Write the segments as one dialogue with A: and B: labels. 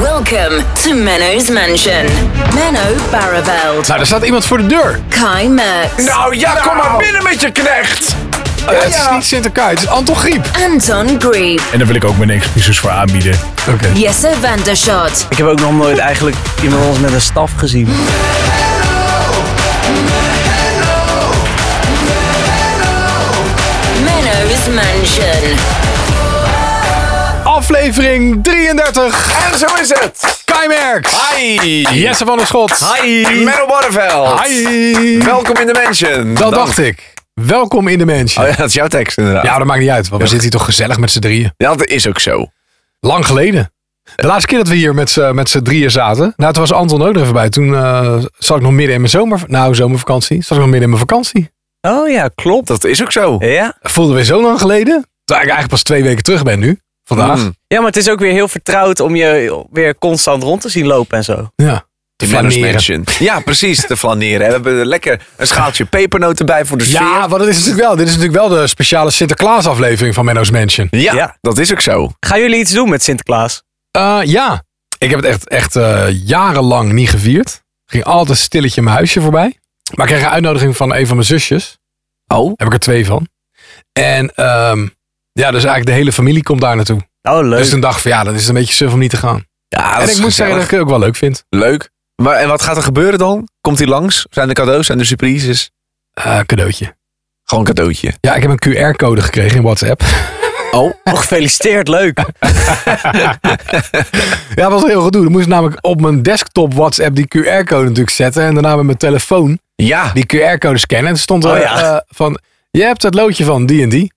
A: Welcome to Menno's Mansion. Menno Barreveld.
B: Nou, er staat iemand voor de deur.
A: Kai Merks.
C: Nou ja, kom maar binnen met je knecht.
B: Oh, ja, het is niet Sinterklaas, het is Anton Griep.
A: Anton Grieve.
B: En daar wil ik ook mijn excuses voor aanbieden. Oké.
A: Jesse van der Schot.
C: Ik heb ook nog nooit eigenlijk iemand anders met een staf gezien.
A: Menno's Mansion.
B: Aflevering 33.
C: En zo is het.
B: Kai Merks.
C: Hi.
B: Jesse van der Schot.
C: Hi. Menno Barneveld.
B: Hi.
C: Welkom in de mansion.
B: Dat dacht ik. Welkom in de mansion.
C: Oh ja, dat is jouw tekst inderdaad.
B: Ja, dat maakt niet uit, want we zitten hier toch gezellig met z'n drieën.
C: Ja, dat is ook zo.
B: Lang geleden. De laatste keer dat we hier met z'n- met z'n drieën zaten, nou toen was Anton ook nog even bij. Toen eh, zat ik nog midden in mijn zomer, nou, zomervakantie. Zat ik nog midden in mijn vakantie.
D: Oh ja, klopt.
C: Dat is ook
B: Eh,
C: zo.
D: Ja?
B: Voelde weer zo lang geleden, dat ik eigenlijk pas twee weken terug ben nu. Vandaag.
C: Mm.
D: ja, maar het is ook weer heel vertrouwd om je weer constant rond te zien lopen en zo.
B: Ja.
C: De Menno's
B: Flaneren.
C: Mansion. Ja, precies. Te flaneren. En we hebben lekker een schaaltje pepernoten bij voor de sfeer.
B: Ja, want dat is natuurlijk wel. Dit is natuurlijk wel de speciale Sinterklaas aflevering van Menno's Mansion.
C: Ja,
D: Ja.
C: dat is ook zo.
D: Gaan jullie iets doen met Sinterklaas?
B: Eh, ja, ik heb het echt, echt eh, jarenlang niet gevierd. Ging altijd stilletje mijn huisje voorbij. Maar ik kreeg een uitnodiging van een van mijn zusjes.
C: Oh.
B: Heb ik er twee van. En ehm, ja, dus eigenlijk de hele familie komt daar naartoe.
D: Oh, leuk.
B: Dus toen dacht ik van ja, dan is het een beetje suf om niet te gaan.
C: Ja, Ah, dat
B: en ik
C: is
B: moet zeggen dat
C: gezellig.
B: ik het ook wel leuk vind.
C: Leuk. Maar, en wat gaat er gebeuren dan? Komt hij langs? Zijn er cadeaus? Zijn er surprises?
B: Eh, cadeautje.
C: Gewoon een cadeautje.
B: Ja, ik heb een QR-code gekregen in WhatsApp.
C: Oh.
D: Oh, gefeliciteerd, leuk.
B: Ja, dat was heel gedoe. Dan moest ik namelijk op mijn desktop WhatsApp die QR-code natuurlijk zetten. En daarna met mijn telefoon
C: Ja.
B: die QR-code scannen. En er stond er
D: Oh ja.
B: eh, van, je hebt het loodje van die en die.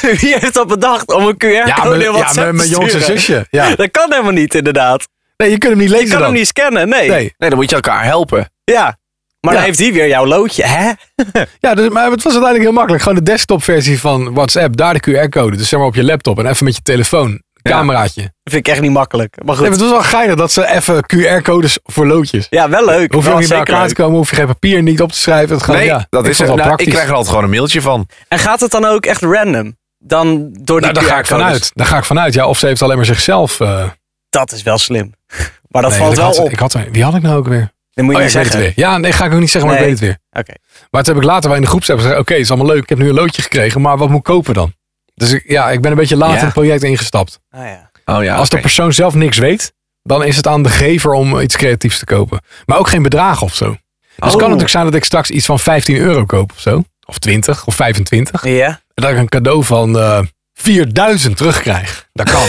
D: Wie heeft dat bedacht om een QR-code in
B: ja,
D: WhatsApp
B: mijn- mijn
D: te
B: jongste
D: sturen?
B: zusje. Ja.
D: Dat kan helemaal niet, inderdaad.
B: Nee, je kunt hem niet lezen
D: Je kan
B: dan.
D: hem niet scannen, nee.
B: Nee.
C: Nee, dan moet je elkaar helpen.
B: Oh,
D: Ja. Maar
B: Ja.
D: dan heeft hij weer jouw loodje, hè?
B: Ja, dus, maar het was uiteindelijk heel makkelijk. Gewoon de desktopversie van WhatsApp, daar de QR-code. Dus zeg maar op je laptop en even met je telefoon, cameraatje. Nee,
D: Dat vind ik echt niet makkelijk. Maar
B: maar
D: goed.
B: het was wel geinig dat ze even QR-codes voor loodjes.
D: Ja, wel leuk.
B: Hoef je
D: Wel
B: ook niet bij
D: zeker
B: elkaar
D: leuk.
B: te komen, hoef je geen papier niet op te schrijven. Het gaat,
C: nee,
B: ja,
C: dat
B: het
C: is het.
B: wel
C: Nou, ik
B: praktisch.
C: krijg er altijd gewoon een mailtje van.
D: En gaat het dan ook echt random? Dan door die
B: nou, daar ga ik
D: QR-codes?
B: vanuit. Daar ga ik vanuit. Ja, of ze heeft alleen maar zichzelf. eh,
D: dus- Dat is wel slim. Maar dat
B: nee,
D: valt
B: ik
D: wel
B: had,
D: op.
B: Ik had, er- wie had ik nou ook weer?
D: Dat moet je
B: Oh,
D: niet
B: ik weet het
D: zeggen.
B: weer. Ja, nee, ga ik ook niet zeggen, maar ik
D: Nee.
B: weet het weer.
D: Oké.
B: Maar toen heb ik later wel in de groepsapp gezegd, oké, het is allemaal leuk, ik heb nu een loodje gekregen, maar wat moet ik kopen dan? Dus ik, ja, ik ben een beetje later
C: Ja.
B: in het project ingestapt.
D: Ah, ja.
C: Oh ja.
B: Als de persoon zelf niks weet, dan is het aan de gever om iets creatiefs te kopen. Maar ook geen bedrag of zo. Dus het kan
D: Oh.
B: natuurlijk zijn dat ik straks iets van 15 euro koop of zo. Of 20 of 25.
D: Ja?
B: En dat ik een cadeau van eh 4000 terugkrijg. Dat kan.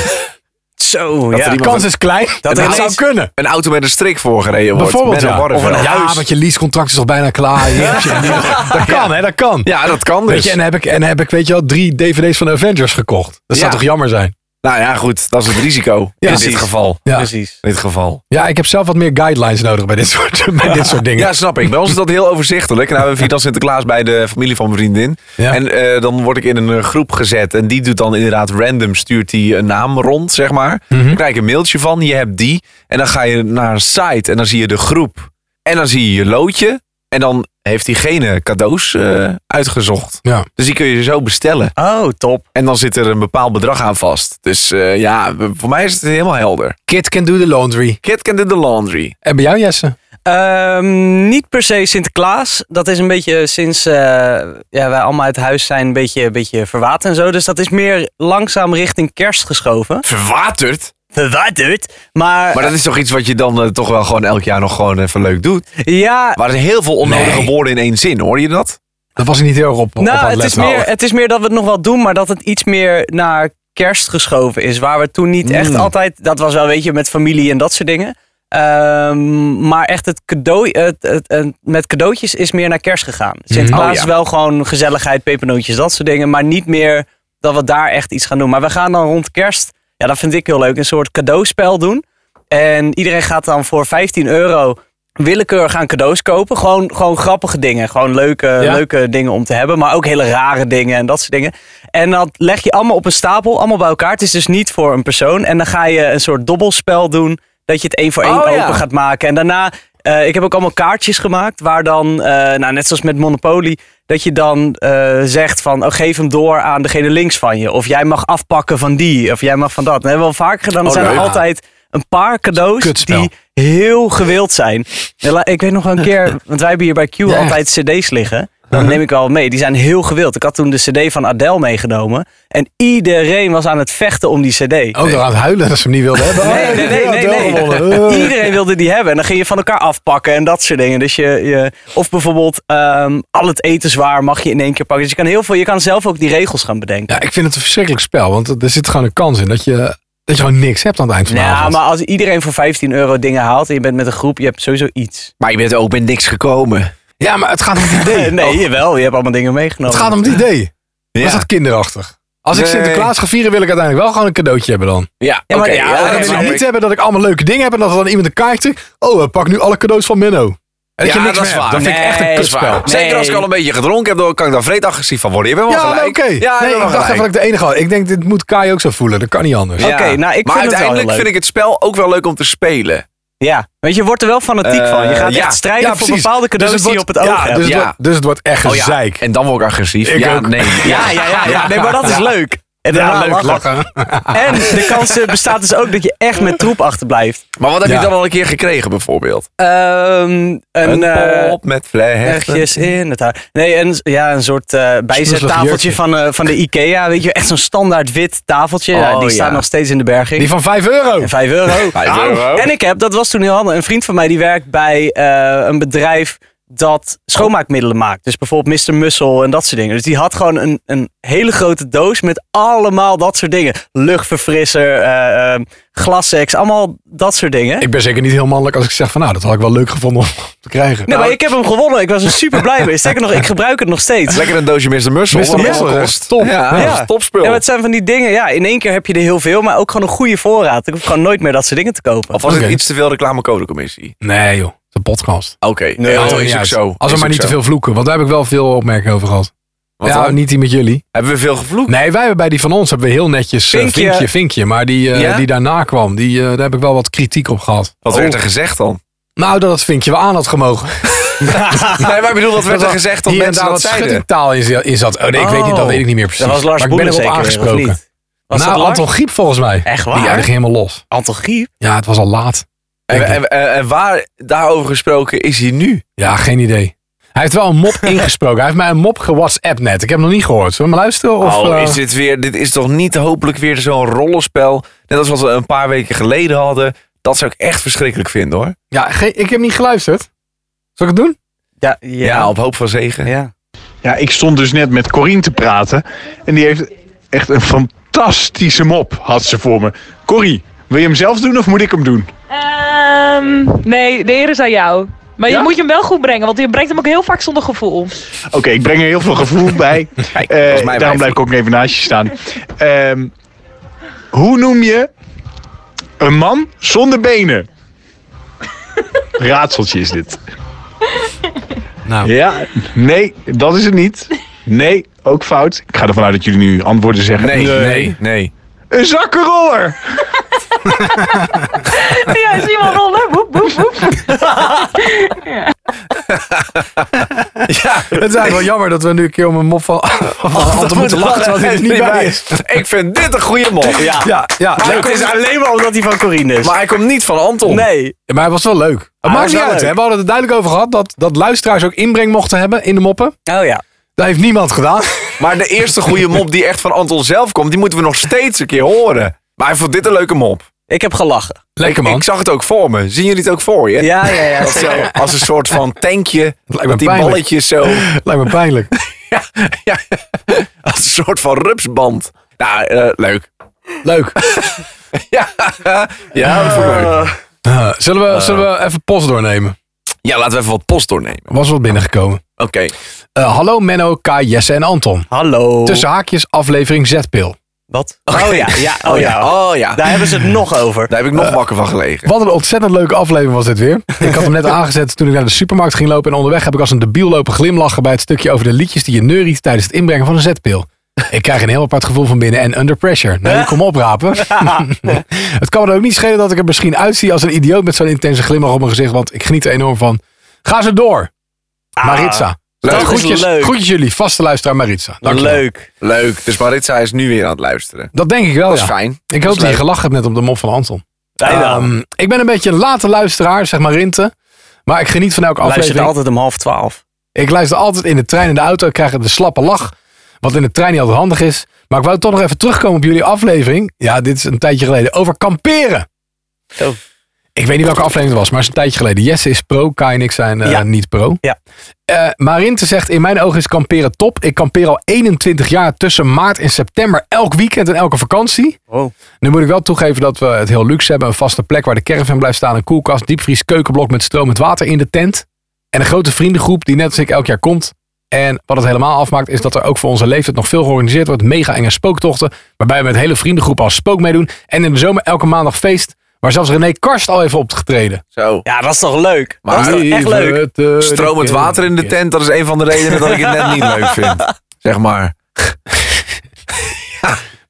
D: Zo,
C: er
D: ja.
B: Die kans is klein, dat
D: er
B: het zou
D: ineens-
B: kunnen.
C: een auto met een strik voorgereden wordt.
B: Bijvoorbeeld,
C: met een
B: ja.
C: warm
B: Of een
C: veld.
B: Ja, want je leasecontract is al bijna klaar. Je hebt je- dat kan, hè, dat kan.
C: Ja, dat kan dus.
B: Weet je, en heb ik, en heb ik weet je wel, drie DVD's van de Avengers gekocht. Dat zou
C: Ja.
B: toch jammer zijn?
C: Nou ja, goed. Dat is het risico.
B: Ja,
C: in dit
B: precies.
C: geval.
B: Ja.
D: Precies.
C: In dit geval.
B: Ja, ik heb zelf wat meer guidelines nodig bij dit soort, bij dit soort dingen.
C: Ja, snap ik. Bij ons is dat heel overzichtelijk. Nou, we vieren dan Sinterklaas bij de familie van mijn vriendin.
B: Ja.
C: En eh, dan word ik in een eh, groep gezet. En die doet dan inderdaad random, stuurt die een naam rond, zeg maar.
B: Mhm.
C: Dan krijg je een mailtje van, je hebt die. En dan ga je naar een site en dan zie je de groep. En dan zie je je loodje. En dan heeft diegene cadeaus eh, uitgezocht.
B: Ja.
C: Dus die kun je zo bestellen.
D: Oh, top.
C: En dan zit er een bepaald bedrag aan vast. Dus eh, ja, we- voor mij is het helemaal helder.
B: Kid can do the laundry.
C: Kid can do the laundry.
B: En bij jou, Jesse?
D: Ehm, niet per se Sinterklaas. Dat is een beetje sinds eh, ja, wij allemaal uit huis zijn een beetje, een beetje verwaat en zo. Dus dat is meer langzaam richting kerst geschoven.
C: Verwaterd?
D: Verwaterd? Maar,
C: Maar dat is toch iets wat je dan eh, toch wel gewoon elk jaar nog gewoon even leuk doet?
D: ja,
C: Maar er zijn heel veel onnodige
B: Nee.
C: woorden in één zin, hoor je dat?
B: Dat was ik niet heel erg op, op aan
D: nou,
B: het
D: het is,
B: letten.
D: meer, het is meer dat we het nog wel doen, maar dat het iets meer naar kerst geschoven is. Waar we toen niet echt
C: Mm.
D: altijd, dat was wel weet je met familie en dat soort dingen. Ehm, maar echt het cadeau, het, het, het- met cadeautjes is meer naar kerst gegaan. Sinterklaas
C: Oh, ja.
D: is wel gewoon gezelligheid, pepernootjes, dat soort dingen. Maar niet meer dat we daar echt iets gaan doen. Maar we gaan dan rond kerst, ja dat vind ik heel leuk, een soort cadeauspel doen. En iedereen gaat dan voor 15 euro willekeurig aan cadeaus kopen. Gewoon, gewoon grappige dingen. Gewoon leuke,
B: Ja.
D: leuke dingen om te hebben. Maar ook hele rare dingen en dat soort dingen. En dat leg je allemaal op een stapel. Allemaal bij elkaar. Het is dus niet voor een persoon. En dan ga je een soort dobbelspel doen. Dat je het één voor één
C: Oh,
D: open
C: ja.
D: gaat maken. En daarna... eh, ik heb ook allemaal kaartjes gemaakt. Waar dan, eh, nou, net zoals met Monopoly... Dat je dan eh, zegt van, oh, geef hem door aan degene links van je. Of jij mag afpakken van die. Of jij mag van dat. Dat hebben we al vaker gedaan. Er
C: Oh,
D: zijn er
C: leuk.
D: altijd een paar cadeaus
B: Kutspel.
D: die heel gewild zijn. Ja, la- Ik weet nog wel een keer, want wij hebben hier bij Q
B: Ja. Uh-huh.
D: altijd cd's liggen. Dan neem ik wel mee. Die zijn heel gewild. Ik had toen de cd van Adele meegenomen. En iedereen was aan het vechten om die cd.
B: Ook al Oh, aan het huilen dat ze hem niet wilden hebben.
D: Nee,
B: Oh,
D: nee, nee,
B: ja,
D: nee,
B: wel
D: nee.
B: gewonnen. Eh.
D: Iedereen wilde die hebben. En dan ging je van elkaar afpakken en dat soort dingen. Dus je, je, of bijvoorbeeld ehm, al het eten zwaar mag je in één keer pakken. Dus je kan heel veel. Je kan zelf ook die regels gaan bedenken.
B: Ja, ik vind het een verschrikkelijk spel. Want er zit gewoon een kans in dat je, dat je gewoon niks hebt aan het eind van de
D: Nou,
B: avond.
D: maar als iedereen voor 15 euro dingen haalt en je bent met een groep, je hebt sowieso iets.
C: Maar je bent ook met niks gekomen.
B: Ja, maar het gaat om het idee.
D: Nee, Oh. jawel, je hebt allemaal dingen meegenomen.
B: Het gaat om het idee.
C: Ja,
B: Is dat kinderachtig? Als ik
C: Nee.
B: Sinterklaas ga vieren, wil ik uiteindelijk wel gewoon een cadeautje hebben dan.
C: ja,
D: Ja, maar-
C: oké,
D: ja,
C: ja,
D: dat
C: dat
B: Dat wil
C: snap
B: ik
C: ik.
B: niet hebben dat ik allemaal leuke dingen heb en dat er dan iemand een kaart trekt. Oh, eh, pak nu alle cadeaus van Menno. En dat
C: Ja,
B: je niks
C: dat
B: meer
C: is
B: hebt.
C: waar.
B: Dat vind ik echt een
D: Nee, dat is
B: kutspel.
D: waar.
C: Zeker
D: Nee.
C: als ik al een beetje gedronken heb, dan kan ik daar vreedagressief van worden. Je bent wel
B: Ja, maar
C: gelijk.
B: oké.
C: Ja,
B: nee, ik dacht even dat ik de enige had. Ik denk, dit moet Kai ook zo voelen. Dat kan niet anders.
D: Ja. Oké, nou, ik
C: maar
D: vind het wel heel
C: uiteindelijk
D: leuk.
C: vind ik het spel ook wel leuk om te spelen.
D: Ja, want je wordt er wel fanatiek
C: Eh,
D: van. Je gaat
C: ja.
D: echt strijden voor
B: precies.
D: bepaalde
B: Dus
D: cadeaus die je op
B: wordt-
D: het
B: ja,
D: oog hebt.
B: Dus,
C: Ja.
B: Het wordt, dus het wordt echt
C: Oh, ja.
B: gezeik.
C: En dan word ik agressief.
B: Ik
C: ja,
B: ook.
C: nee.
D: ja, ja, ja, ja. Nee, maar dat is leuk. En daarna lachen. En de kans eh, bestaat dus ook dat je echt met troep achterblijft.
C: Maar wat heb
B: Ja.
C: je dan al een keer gekregen bijvoorbeeld?
D: Ehm, een eh,
C: pop met vlechten.
D: ergjes in het haar. Nee, een, ja, een soort eh,
B: jurkje.
D: bijzettafeltje van, eh, van de Ikea. Weet je, echt zo'n standaard wit tafeltje. Ja,
C: Oh,
D: die staat
C: ja.
D: nog steeds in de berging.
B: Die van 5 euro.
D: En 5 euro. Nou,
C: Vijf euro.
D: En ik heb, dat was toen heel handig, een vriend van mij die werkt bij eh, een bedrijf dat schoonmaakmiddelen maakt. Dus bijvoorbeeld Mr. Muscle en dat soort dingen. Dus die had gewoon een, een hele grote doos met allemaal dat soort dingen. Luchtverfrisser, eh eh, glassex, allemaal dat soort dingen.
B: Ik ben zeker niet heel mannelijk als ik zeg van nou, dat had ik wel leuk gevonden om te krijgen. Nou,
D: nee,
C: Nou,
D: maar ik heb hem gewonnen. Ik was er super blij mee. Sterker nog, ik gebruik het nog steeds.
C: Lekker een doosje Mr. Muscle.
B: Mr.
C: Wat
B: Muscle,
C: dat
B: echt
C: kost.
B: top.
C: Ja,
D: Ja.
C: dat is topspul.
D: Ja, maar het zijn van die dingen. Ja, in één keer heb je er heel veel, maar ook gewoon een goede voorraad. Ik hoef gewoon nooit meer dat soort dingen te kopen.
C: Of was
B: Oké.
C: het iets te veel reclamecodecommissie?
B: Nee joh, het is een podcast.
C: Oké, nee,
B: Maakt
C: is
B: niet
C: ook
B: uit.
C: zo.
B: Als we
C: Is
B: maar
C: ook
B: niet te
C: zo.
B: veel vloeken, want daar heb ik wel veel opmerkingen over gehad.
C: Wat
B: ja,
C: dan?
B: niet die met jullie.
C: Hebben we veel gevloekt?
B: Nee, wij hebben bij die van ons hebben we heel netjes eh,
D: Vinkje.
B: vinkje, vinkje, Maar die, eh,
C: Ja?
B: die daarna kwam, die, eh, daar heb ik wel wat kritiek op gehad.
C: Wat
B: Oh.
C: werd er gezegd dan?
B: Nou, dat het vinkje wel aan had gemogen.
C: Nee, maar ik bedoel, wat werd er
B: wel-
C: gezegd dat
B: Hier en
C: mensen
B: daar
C: dat
B: wat
C: zeiden?
B: schuttingtaal in, zi- in zat. Oh nee, ik weet niet, dat
D: Oh.
B: weet ik niet meer precies.
D: dat was Lars
B: maar ik ben
D: Boelen
B: erop
D: zeker, of
B: aangesproken.
D: niet? Was
B: nou,
D: dat Lars?
B: Anton Griep volgens mij.
D: Echt
B: Die
D: waar?
B: eigenlijk helemaal los.
D: Anton Griep?
B: Ja, het was al laat.
C: En, en, en- en waar daarover gesproken is hij nu?
B: Ja, geen idee. Hij heeft wel een mop ingesproken. Hij heeft mij een mop gewhatsapp net. Ik heb hem nog niet gehoord. Zullen we maar luisteren? Of,
C: oh,
B: eh,
C: is dit weer, dit is toch niet hopelijk weer zo'n rollenspel? Net als wat we een paar weken geleden hadden. Dat zou ik echt verschrikkelijk vinden hoor.
B: Ja, geen- ik heb niet geluisterd. Zal ik het doen?
D: Ja,
C: Ja,
D: ja. ja,
C: op hoop van zegen.
E: Ja, ik stond dus net met Corine te praten. En die heeft echt een fantastische mop, had ze voor me. Corrie, wil je hem zelf doen of moet ik hem doen?
F: Ehm, nee, de eer is aan jou. Maar
E: Ja?
F: je moet je hem wel goed brengen, want je brengt hem ook heel vaak zonder gevoel.
E: Oké, ik breng er heel veel gevoel bij.
C: Kijk,
E: Eh,
C: volgens mij
E: daarom
C: blijft
E: blijf ik ook even naast je staan. Ehm, hoe noem je een man zonder benen? Raadseltje is dit.
B: Nou,
E: Ja, nee, dat is het niet. Nee, ook fout. Ik ga ervan uit dat jullie nu antwoorden zeggen. Eh,
C: Nee, nee, nee. nee.
E: Een zakkenroller!
F: ja, zie je wel rollen. Boep, boep, boep.
C: Ja,
B: het is eigenlijk wel jammer dat we nu een keer om een mop van, van Anton moeten lachen terwijl hij er niet bij is.
C: Ik vind dit een goede mop.
D: Ja.
B: Ja, ja,
D: Maar
B: leuk.
D: het is alleen maar omdat hij van Corine is.
C: Maar hij komt niet van Anton.
D: nee.
B: Maar het was wel leuk. Het
D: het
B: maakt
D: is
B: niet
D: wel
B: uit.
D: leuk.
B: Hè? We hadden het duidelijk over gehad dat, dat luisteraars ook inbreng mochten hebben in de moppen.
D: Oh ja.
B: Dat heeft niemand gedaan.
C: Maar de eerste goede mop die echt van Anton zelf komt, die moeten we nog steeds een keer horen. Maar hij vond dit een leuke mop.
D: Ik heb gelachen.
B: Lekker man.
C: Ik zag het ook voor me. Zien jullie het ook voor je?
D: Ja, ja, ja.
C: Dat zo, als een soort van tankje.
B: me
C: Dat die
B: pijnlijk.
C: balletjes zo.
B: Lijkt me pijnlijk.
C: Ja, als een soort van rupsband. Nou, eh, leuk.
B: Leuk.
C: Ja, ja, dat vond ik leuk.
B: Eh, zullen, we, zullen we even post doornemen?
C: ja, laten we even wat post doornemen.
B: Er was wat binnengekomen.
C: Oké.
B: Eh, hallo Menno, Kai, Jesse en Anton.
D: Hallo.
B: Tussen haakjes aflevering Zetpil.
D: Wat? Oh ja, ja, oh
C: Oh
D: ja.
C: ja, oh ja.
D: Daar hebben ze het nog over.
C: Daar heb ik nog wakker van gelegen.
B: Wat een ontzettend leuke aflevering was dit weer. Ik had hem net aangezet toen ik naar de supermarkt ging lopen. En onderweg heb ik als een debiel lopen glimlachen bij het stukje over de liedjes die je neuriet tijdens het inbrengen van een zetpil. Ik krijg een heel apart gevoel van binnen en under pressure. Nou, die kom oprapen. het kan me er ook niet schelen dat ik er misschien uitzie als een idioot met zo'n intense glimlach op mijn gezicht. Want ik geniet er enorm van. Ga ze door. Maritza.
D: dat is
B: groetjes,
D: Ah, leuk.
B: groetjes jullie, vaste luisteraar Maritza. Dankjewel.
D: Leuk.
C: Leuk. Dus Maritza is nu weer aan het luisteren.
B: Dat denk ik wel,
C: Dat is
B: ja.
C: fijn.
B: Ik hoop dat je gelachen hebt net op de mop van Anton.
D: Bijna.
B: Ehm, ik ben een beetje een late luisteraar, zeg maar Rinte. Maar ik geniet van elke
D: Luister
B: aflevering.
D: altijd om half twaalf.
B: Ik luister altijd in de trein en de auto. Ik krijg de slappe lach. Wat in de trein niet altijd handig is. Maar ik wou toch nog even terugkomen op jullie aflevering. Ja, dit is een tijdje geleden. Over kamperen.
D: Oh.
B: Ik weet niet welke aflevering het was, maar het is een tijdje geleden. Jesse is pro, Kai en ik zijn eh,
D: Ja.
B: niet pro.
D: Ja.
B: Eh, maar Rinte zegt, in mijn ogen is kamperen top. Ik kampeer al 21 jaar tussen maart en september. Elk weekend en elke vakantie.
D: Wow.
B: Nu moet ik wel toegeven dat we het heel luxe hebben. Een vaste plek waar de caravan blijft staan. Een koelkast, diepvries, keukenblok met stromend water in de tent. En een grote vriendengroep die net als ik elk jaar komt. En wat het helemaal afmaakt is dat er ook voor onze leeftijd nog veel georganiseerd wordt. Mega enge spooktochten. Waarbij we met hele vriendengroep als spook meedoen. En in de zomer elke maandag feest. Waar zelfs René Karst al heeft opgetreden.
C: Zo.
D: Ja, dat is toch leuk?
C: Maar
D: dat is toch echt leuk?
C: Stromend water in de tent, dat is een van de redenen dat ik het net niet leuk vind. Zeg maar.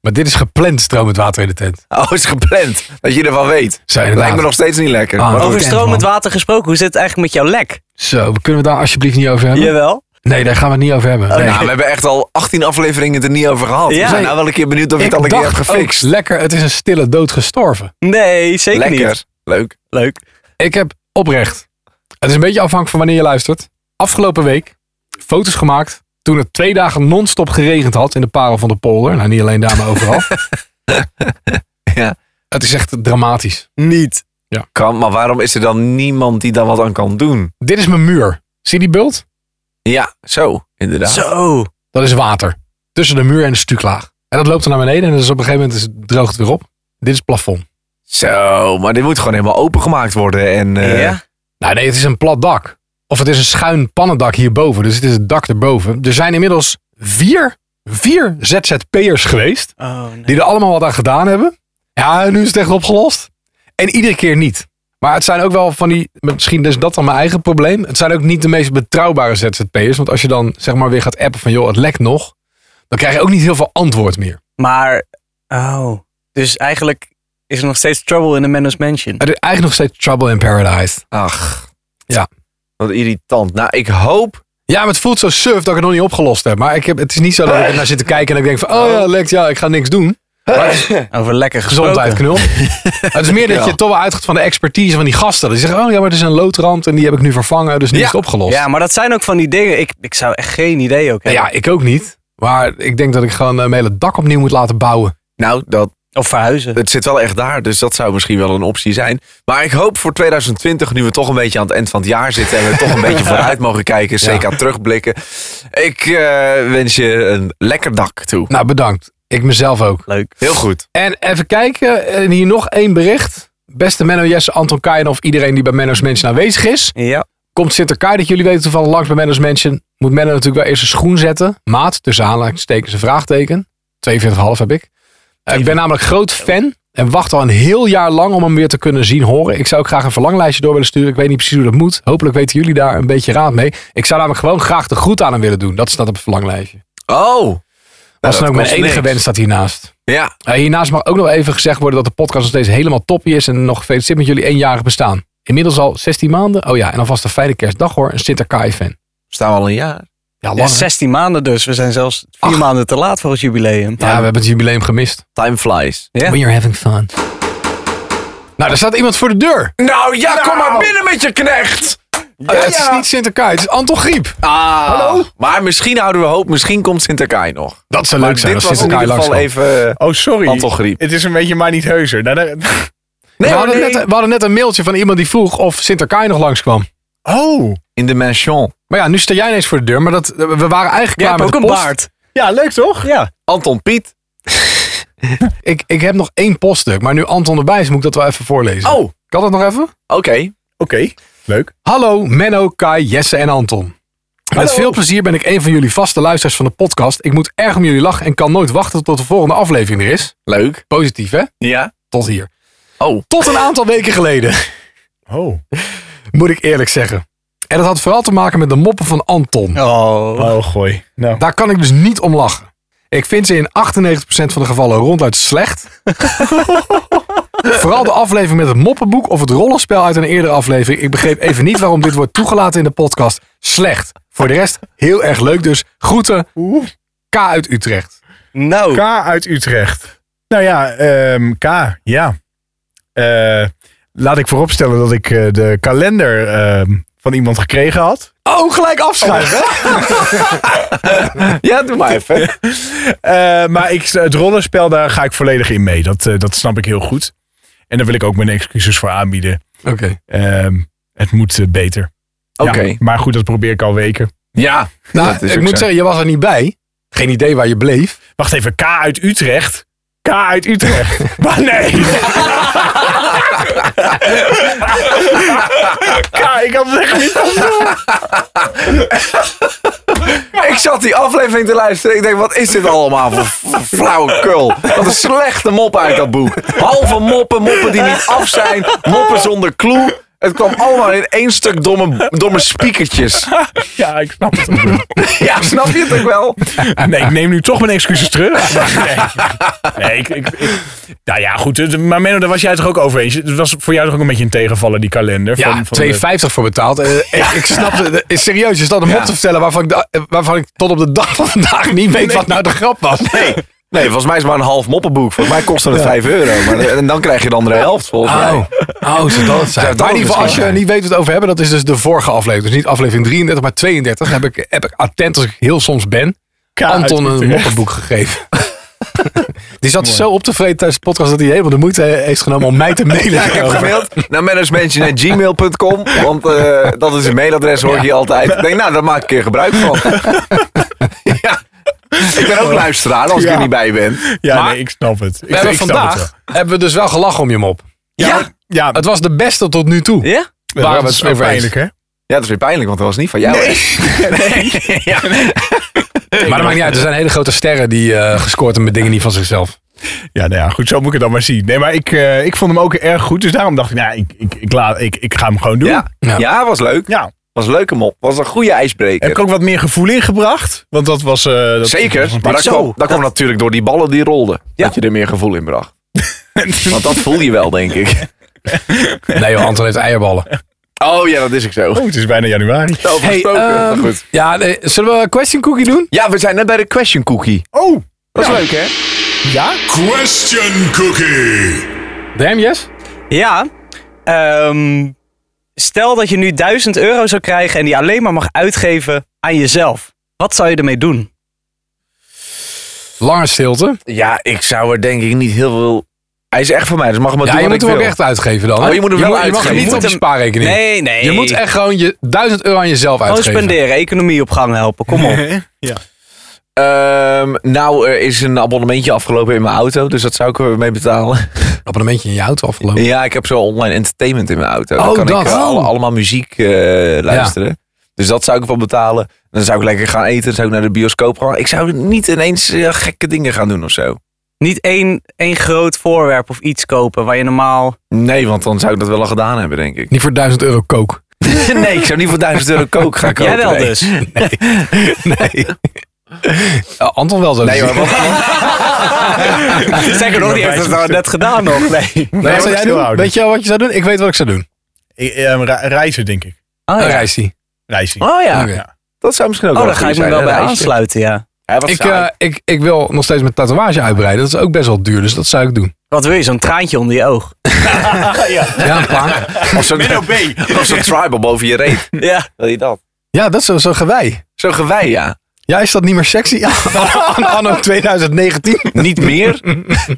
B: Maar dit is gepland stromend water in de tent.
C: Oh, het is gepland. Dat je ervan weet.
B: Zo,
C: Dat lijkt
B: inderdaad.
C: me nog steeds niet lekker.
B: Ah.
C: Maar goed.
D: Over
B: tent,
D: stromend
B: man.
D: water gesproken, hoe zit het eigenlijk met jouw lek?
B: Zo, kunnen we daar alsjeblieft niet over hebben?
D: Jawel.
B: Nee, daar gaan we het niet over hebben. Nee.
C: Nou, we hebben echt al 18 afleveringen het er niet over gehad.
D: Ja.
C: We zijn nou wel een keer benieuwd of je
B: ik
C: het al een keer
B: dacht
C: hebt gefixt.
B: ook, lekker, het is een stille dood gestorven.
D: Nee, zeker
C: lekker.
D: niet.
C: Leuk.
D: Leuk.
B: Ik heb oprecht. Het is een beetje afhankelijk van wanneer je luistert. Afgelopen week foto's gemaakt. Toen het twee dagen non-stop geregend had in de parel van de polder. Nou, niet alleen daar, maar overal.
C: Ja.
B: Het is echt dramatisch.
D: Niet.
C: Kan, maar waarom is er dan niemand die daar wat aan kan doen?
B: Dit is mijn muur. Zie die bult?
C: Ja, zo. Inderdaad.
D: Zo.
B: Dat is water. Tussen de muur en de stuklaag. En dat loopt er naar beneden en dus op een gegeven moment is het, droogt het weer op. Dit is het plafond.
C: Zo, maar dit moet gewoon helemaal opengemaakt worden. En, eh,
D: ja.
B: Nou nee, het is een plat dak. Of het is een schuin pannendak hierboven. Dus het is het dak erboven. Er zijn inmiddels vier, vier ZZP'ers geweest.
D: Oh, nee.
B: Die er allemaal wat aan gedaan hebben. Ja, en nu is het echt opgelost. En iedere keer niet. Maar het zijn ook wel van die, misschien is dat dan mijn eigen probleem. Het zijn ook niet de meest betrouwbare ZZP'ers. Want als je dan zeg maar weer gaat appen van joh, het lekt nog. Dan krijg je ook niet heel veel antwoord meer.
D: Maar, oh. Dus eigenlijk is er nog steeds trouble in de Menno's Mansion.
B: Er is eigenlijk nog steeds trouble in paradise.
C: Ach.
B: Ja.
C: Wat irritant. Nou, ik hoop...
B: Ja, maar het voelt zo surf dat ik het nog niet opgelost heb. Maar ik heb, het is niet zo dat ik er naar zit te kijken en ik denk van oh ja, lekt ja, ik ga niks doen.
D: Over lekker gesproken.
B: Gezondheid, knul. het is meer dat je toch wel uitgaat van de expertise van die gasten. Die zeggen oh ja, maar het is een loodrand en die heb ik nu vervangen. Dus nu
C: Ja.
B: is het opgelost.
D: Ja, maar dat zijn ook van die dingen. Ik, ik zou echt geen idee ook
B: Nou
D: hebben.
B: ja, ik ook niet. Maar ik denk dat ik gewoon eh, mijn hele dak opnieuw moet laten bouwen.
C: Nou, dat,
D: Of verhuizen.
C: het zit wel echt daar. Dus dat zou misschien wel een optie zijn. Maar ik hoop voor 2020, nu we toch een beetje aan het eind van het jaar zitten. En we toch een beetje vooruit mogen kijken. CK terugblikken. Ik eh, wens je een lekker dak toe.
B: Nou, bedankt. Ik mezelf ook.
D: Leuk.
C: Heel goed.
B: En even kijken. En hier nog één bericht. Beste Menno Jesse, Anton Kaaien of iedereen die bij Menno's Mansion aanwezig is.
D: Ja.
B: Komt Sinterkaai dat jullie weten toevallig langs bij Menno's Mansion. Moet Menno natuurlijk wel eerst een schoen zetten. Maat, tussen aanhalingstekens een vraagteken. 42,5 heb ik. Eh, ik ben namelijk groot fan. En wacht al een heel jaar lang om hem weer te kunnen zien horen. Ik zou ook graag een verlanglijstje door willen sturen. Ik weet niet precies hoe dat moet. Hopelijk weten jullie daar een beetje raad mee. Ik zou namelijk gewoon graag de groet aan hem willen doen. Dat staat op het verlanglijstje.
C: Oh.
B: dat is
C: dat
B: dan ook mijn
C: kost
B: enige
C: niks.
B: wens staat hiernaast.
C: Ja.
B: Eh, hiernaast mag ook nog even gezegd worden dat de podcast nog steeds helemaal toppie is. En nog gefeliciteerd met jullie eenjarig bestaan. Inmiddels al 16 maanden. Oh ja, en alvast een fijne kerstdag hoor. Een Sinterkaai-fan.
C: Staan we al een jaar.
B: Ja,
D: Ja,
B: lang. hè?
D: 16 maanden dus. We zijn zelfs vier maanden te laat voor het jubileum.
B: Ja, we hebben het jubileum gemist.
C: Time flies.
D: Ja.
B: When you're having fun. Nou, er staat iemand voor de deur.
C: Nou ja, kom maar binnen met je knecht.
B: Oh, ja, het is niet Sinterkaai, het is Anton Griep.
C: Ah, Maar misschien houden we hoop. Misschien komt Sinterkaai nog.
B: Dat zou
C: Maar
B: leuk zijn
C: dit
B: als
C: was in ieder
B: Sinterkaai langs
C: geval even...
E: Oh, sorry.
C: Anton Griep.
E: Het is een beetje maar niet heuser. Nou, daar-
B: we,
C: hoor,
B: hadden
C: nee.
B: net, we hadden net een mailtje van iemand die vroeg of Sinterkaai nog langskwam.
E: Oh.
C: In de mansion.
B: Maar ja, nu sta jij ineens voor de deur. Maar dat, we waren eigenlijk
D: Jij
B: klaar
D: hebt
B: met
D: ook
B: de
D: een
B: post.
D: baard.
E: Ja, leuk toch? Ja.
C: Anton Piet.
B: Ik, ik heb nog één poststuk, maar nu Anton erbij is, moet ik dat wel even voorlezen.
C: Oh, oké.
B: Kan dat nog even?
E: Oké. Leuk.
B: Hallo Menno, Kai, Jesse en Anton. Met veel plezier ben ik een van jullie vaste luisteraars van de podcast. Ik moet erg om jullie lachen en kan nooit wachten tot de volgende aflevering er is.
C: Leuk.
B: Positief hè?
C: Ja.
B: Tot hier.
C: Oh.
B: Tot een aantal weken geleden,
E: Oh.
B: moet ik eerlijk zeggen. En dat had vooral te maken met de moppen van Anton.
D: Oh.
E: Oh, gooi. Nou.
B: Daar kan ik dus niet om lachen. Ik vind ze in 98% van de gevallen ronduit slecht. Vooral de aflevering met het moppenboek of het rollenspel uit een eerdere aflevering. Ik begreep even niet waarom dit wordt toegelaten in de podcast. Slecht. Voor de rest heel erg leuk dus. Groeten,
E: Oeh.
B: K uit Utrecht.
D: Nou.
E: K uit Utrecht. Nou ja, ehm, K, ja. Eh,
G: eh, laat ik vooropstellen dat ik eh, de kalender eh, van iemand gekregen had.
C: Oh, gelijk afschuiven. ja, doe maar even.
G: Eh, maar ik, het rollenspel, daar ga ik volledig in mee. Dat, eh, dat snap ik heel goed. En daar wil ik ook mijn excuses voor aanbieden.
B: Oké.
G: Ehm, het moet eh, beter. Ja,
C: Oké.
G: maar goed, dat probeer ik al weken.
C: Ja.
B: Nou,
C: Dat is
B: ik
C: ook
B: moet
C: zo.
B: zeggen, je was er niet bij. Geen idee waar je bleef.
G: Wacht even, K uit Utrecht. K uit Utrecht. maar nee. K, ik had het echt niet.
C: Ik zat die aflevering te luisteren. Ik denk, wat is dit allemaal voor f- flauwekul? Wat een slechte mop uit dat boek. Halve moppen, moppen die niet af zijn, moppen zonder clue. Het kwam allemaal in één stuk domme, domme spiekertjes.
G: Ja, ik snap het. ook wel.
C: Ja, snap je het ook wel?
G: Nee, ik neem nu toch mijn excuses terug. Maar Nee, nee ik, ik, ik- nou ja, goed. het- Maar Menno, daar was jij toch ook over eens? Het was voor jou toch ook een beetje een tegenvaller, die kalender?
B: Ja,
G: van, van de-
B: 2,50 voor betaald. Eh, ik, ik snap het. Eh, Serieus, je staat een mop te vertellen waarvan ik, da- eh, waarvan ik tot op de dag van vandaag niet weet wat nou de grap was.
C: Nee. Nee, volgens mij is het maar een half moppenboek. Volgens mij kostte het 5 euro. Maar, en dan krijg je de andere helft, volgens mij.
B: Oh, oh zou dat het zijn?
C: Zou dat
B: maar in
C: het
B: ieder geval, als je
C: misschien zijn?
B: niet weet wat we het over hebben, dat is dus de vorige aflevering. Dus niet aflevering 33, maar 32. Heb ik, heb ik attent als ik heel soms ben,
G: K uit
B: Anton een
G: Utrecht.
B: moppenboek gegeven. Die zat zo op te vreten tijdens de podcast dat hij helemaal de moeite heeft genomen om mij te mailen.
C: Ja, ik heb gemaild naar managementje.gmail.com. Want eh, dat is een mailadres, hoor ik hier altijd. Ik denk, nou, daar maak ik een keer gebruik van. ja. Ik ben ook luisteraar als ik
G: Ja.
C: er niet bij ben.
G: Ja,
C: Maar-
G: nee, ik snap het. Ik,
B: We hebben
G: ik snap
B: vandaag hebben we dus wel gelachen om je mop.
G: het wel. Ja,
C: Ja?
G: maar- ja,
B: Het was de beste tot nu toe.
D: Ja?
B: waren we
G: dat
B: het
G: is wel
B: over eens.
G: pijnlijk, hè?
C: Ja, dat is weer pijnlijk, want dat was niet van jou. hè?
B: Maar dat maakt niet uit. Er zijn hele grote sterren die eh, gescoord hebben met dingen niet van zichzelf.
G: Ja, nou ja, goed, zo moet ik het dan maar zien. Nee, maar ik, eh, ik vond hem ook erg goed. Dus daarom dacht ik, nou, ik, ik, ik, laat, ik, ik ga hem gewoon doen.
C: Ja.
B: Ja.
C: Ja. was leuk.
G: Ja.
C: Was een leuke mop. Was een goede
G: Heb ik
C: ijsbreker.
G: ook wat meer gevoel ingebracht? Want dat was... eh, dat-
C: Zeker,
G: dat was een
C: maar dat
G: zo.
C: kwam, dat kwam natuurlijk door die ballen die rolden. Dat je er meer gevoel in bracht. Want dat voel je wel, denk ik.
B: Nee joh, Anton heeft eierballen.
C: Oh ja, dat is ik zo.
G: Oh, het is bijna januari.
C: Over
B: Hey,
C: gesproken. Maar
B: ehm,
C: goed.
B: ja, nee, zullen we een question cookie doen?
C: Ja, we zijn net bij de question cookie.
G: Oh,
C: Dat is leuk, hè?
G: ja?
H: Question Cookie.
B: Damn yes?
D: Ja. ehm, stel dat je nu 1000 euro zou krijgen en die alleen maar mag uitgeven aan jezelf. Wat zou je ermee doen?
B: Lange stilte.
C: Ja, ik zou er denk ik niet heel veel... Hij is echt van mij, dus mag ik maar
B: ja,
C: doen
B: je
C: wat
B: moet
C: ik
B: hem ook
C: wil.
B: echt uitgeven dan. hè?
C: Oh, je moet hem wel
B: mo- Je mag
C: uitgeven.
B: hem niet
D: Je
B: op
D: moet
B: je
D: hem-
B: spaarrekening.
D: Nee, nee.
B: Je moet echt gewoon je 1000 euro aan jezelf
D: Gewoon
B: uitgeven.
D: spenderen, economie op gang helpen, kom op.
C: Ehm, nou, er is een abonnementje afgelopen in mijn auto, dus dat zou ik er mee betalen.
B: Abonnementje in je auto afgelopen.
C: Ja, ik heb zo online entertainment in mijn auto. Dan
B: Oh,
C: kan
B: dat.
C: ik eh, alle-
B: Oh.
C: allemaal muziek eh, luisteren. Dus dat zou ik wel betalen. Dan zou ik lekker gaan eten, dan zou ik naar de bioscoop gaan. Ik zou niet ineens eh, gekke dingen gaan doen of zo.
D: Niet één, één groot voorwerp of iets kopen waar je normaal...
C: Nee, want dan zou ik dat wel al gedaan hebben, denk ik.
B: Niet voor 1000 euro kook.
C: nee, ik zou niet voor 1000 euro kook gaan kopen.
D: Jij wel
C: nee.
D: dus.
B: Nee. Eh, Anton wel zo.
C: Nee, maar wat,
D: Zeker nog, die heeft het nou net gedaan nog. Nee.
B: Nee, wat
G: wat
B: zou jij
G: stil
B: doen?
G: houden.
B: Weet je wel wat je zou doen? Ik weet wat ik zou doen.
G: Ik- eh, re- reizen, denk ik.
D: Oh,
B: Een
D: ja.
B: reisje.
G: Reizen.
D: oh ja.
B: Oké.
C: dat zou misschien ook
D: Oh,
C: wel
D: daar ga
C: een
D: ik
C: goeie
D: me
C: zijn,
D: wel bij
C: hè, reisje.
D: aansluiten, ja.
C: Hij was
B: Ik,
C: saai.
B: eh, ik, ik wil nog steeds mijn tatoeage uitbreiden. Dat is ook best wel duur, dus dat zou ik doen.
D: Wat wil je, zo'n traantje onder je oog?
B: Ja, een paar.
C: Of zo'n of zo'n tribal boven je reet.
D: Ja.
C: Wil je dat?
B: Ja, dat is zo- zo'n gewei.
C: Zo'n gewei, ja.
B: Ja, is dat niet meer sexy? Ja, anno- anno 2019.
C: Niet meer.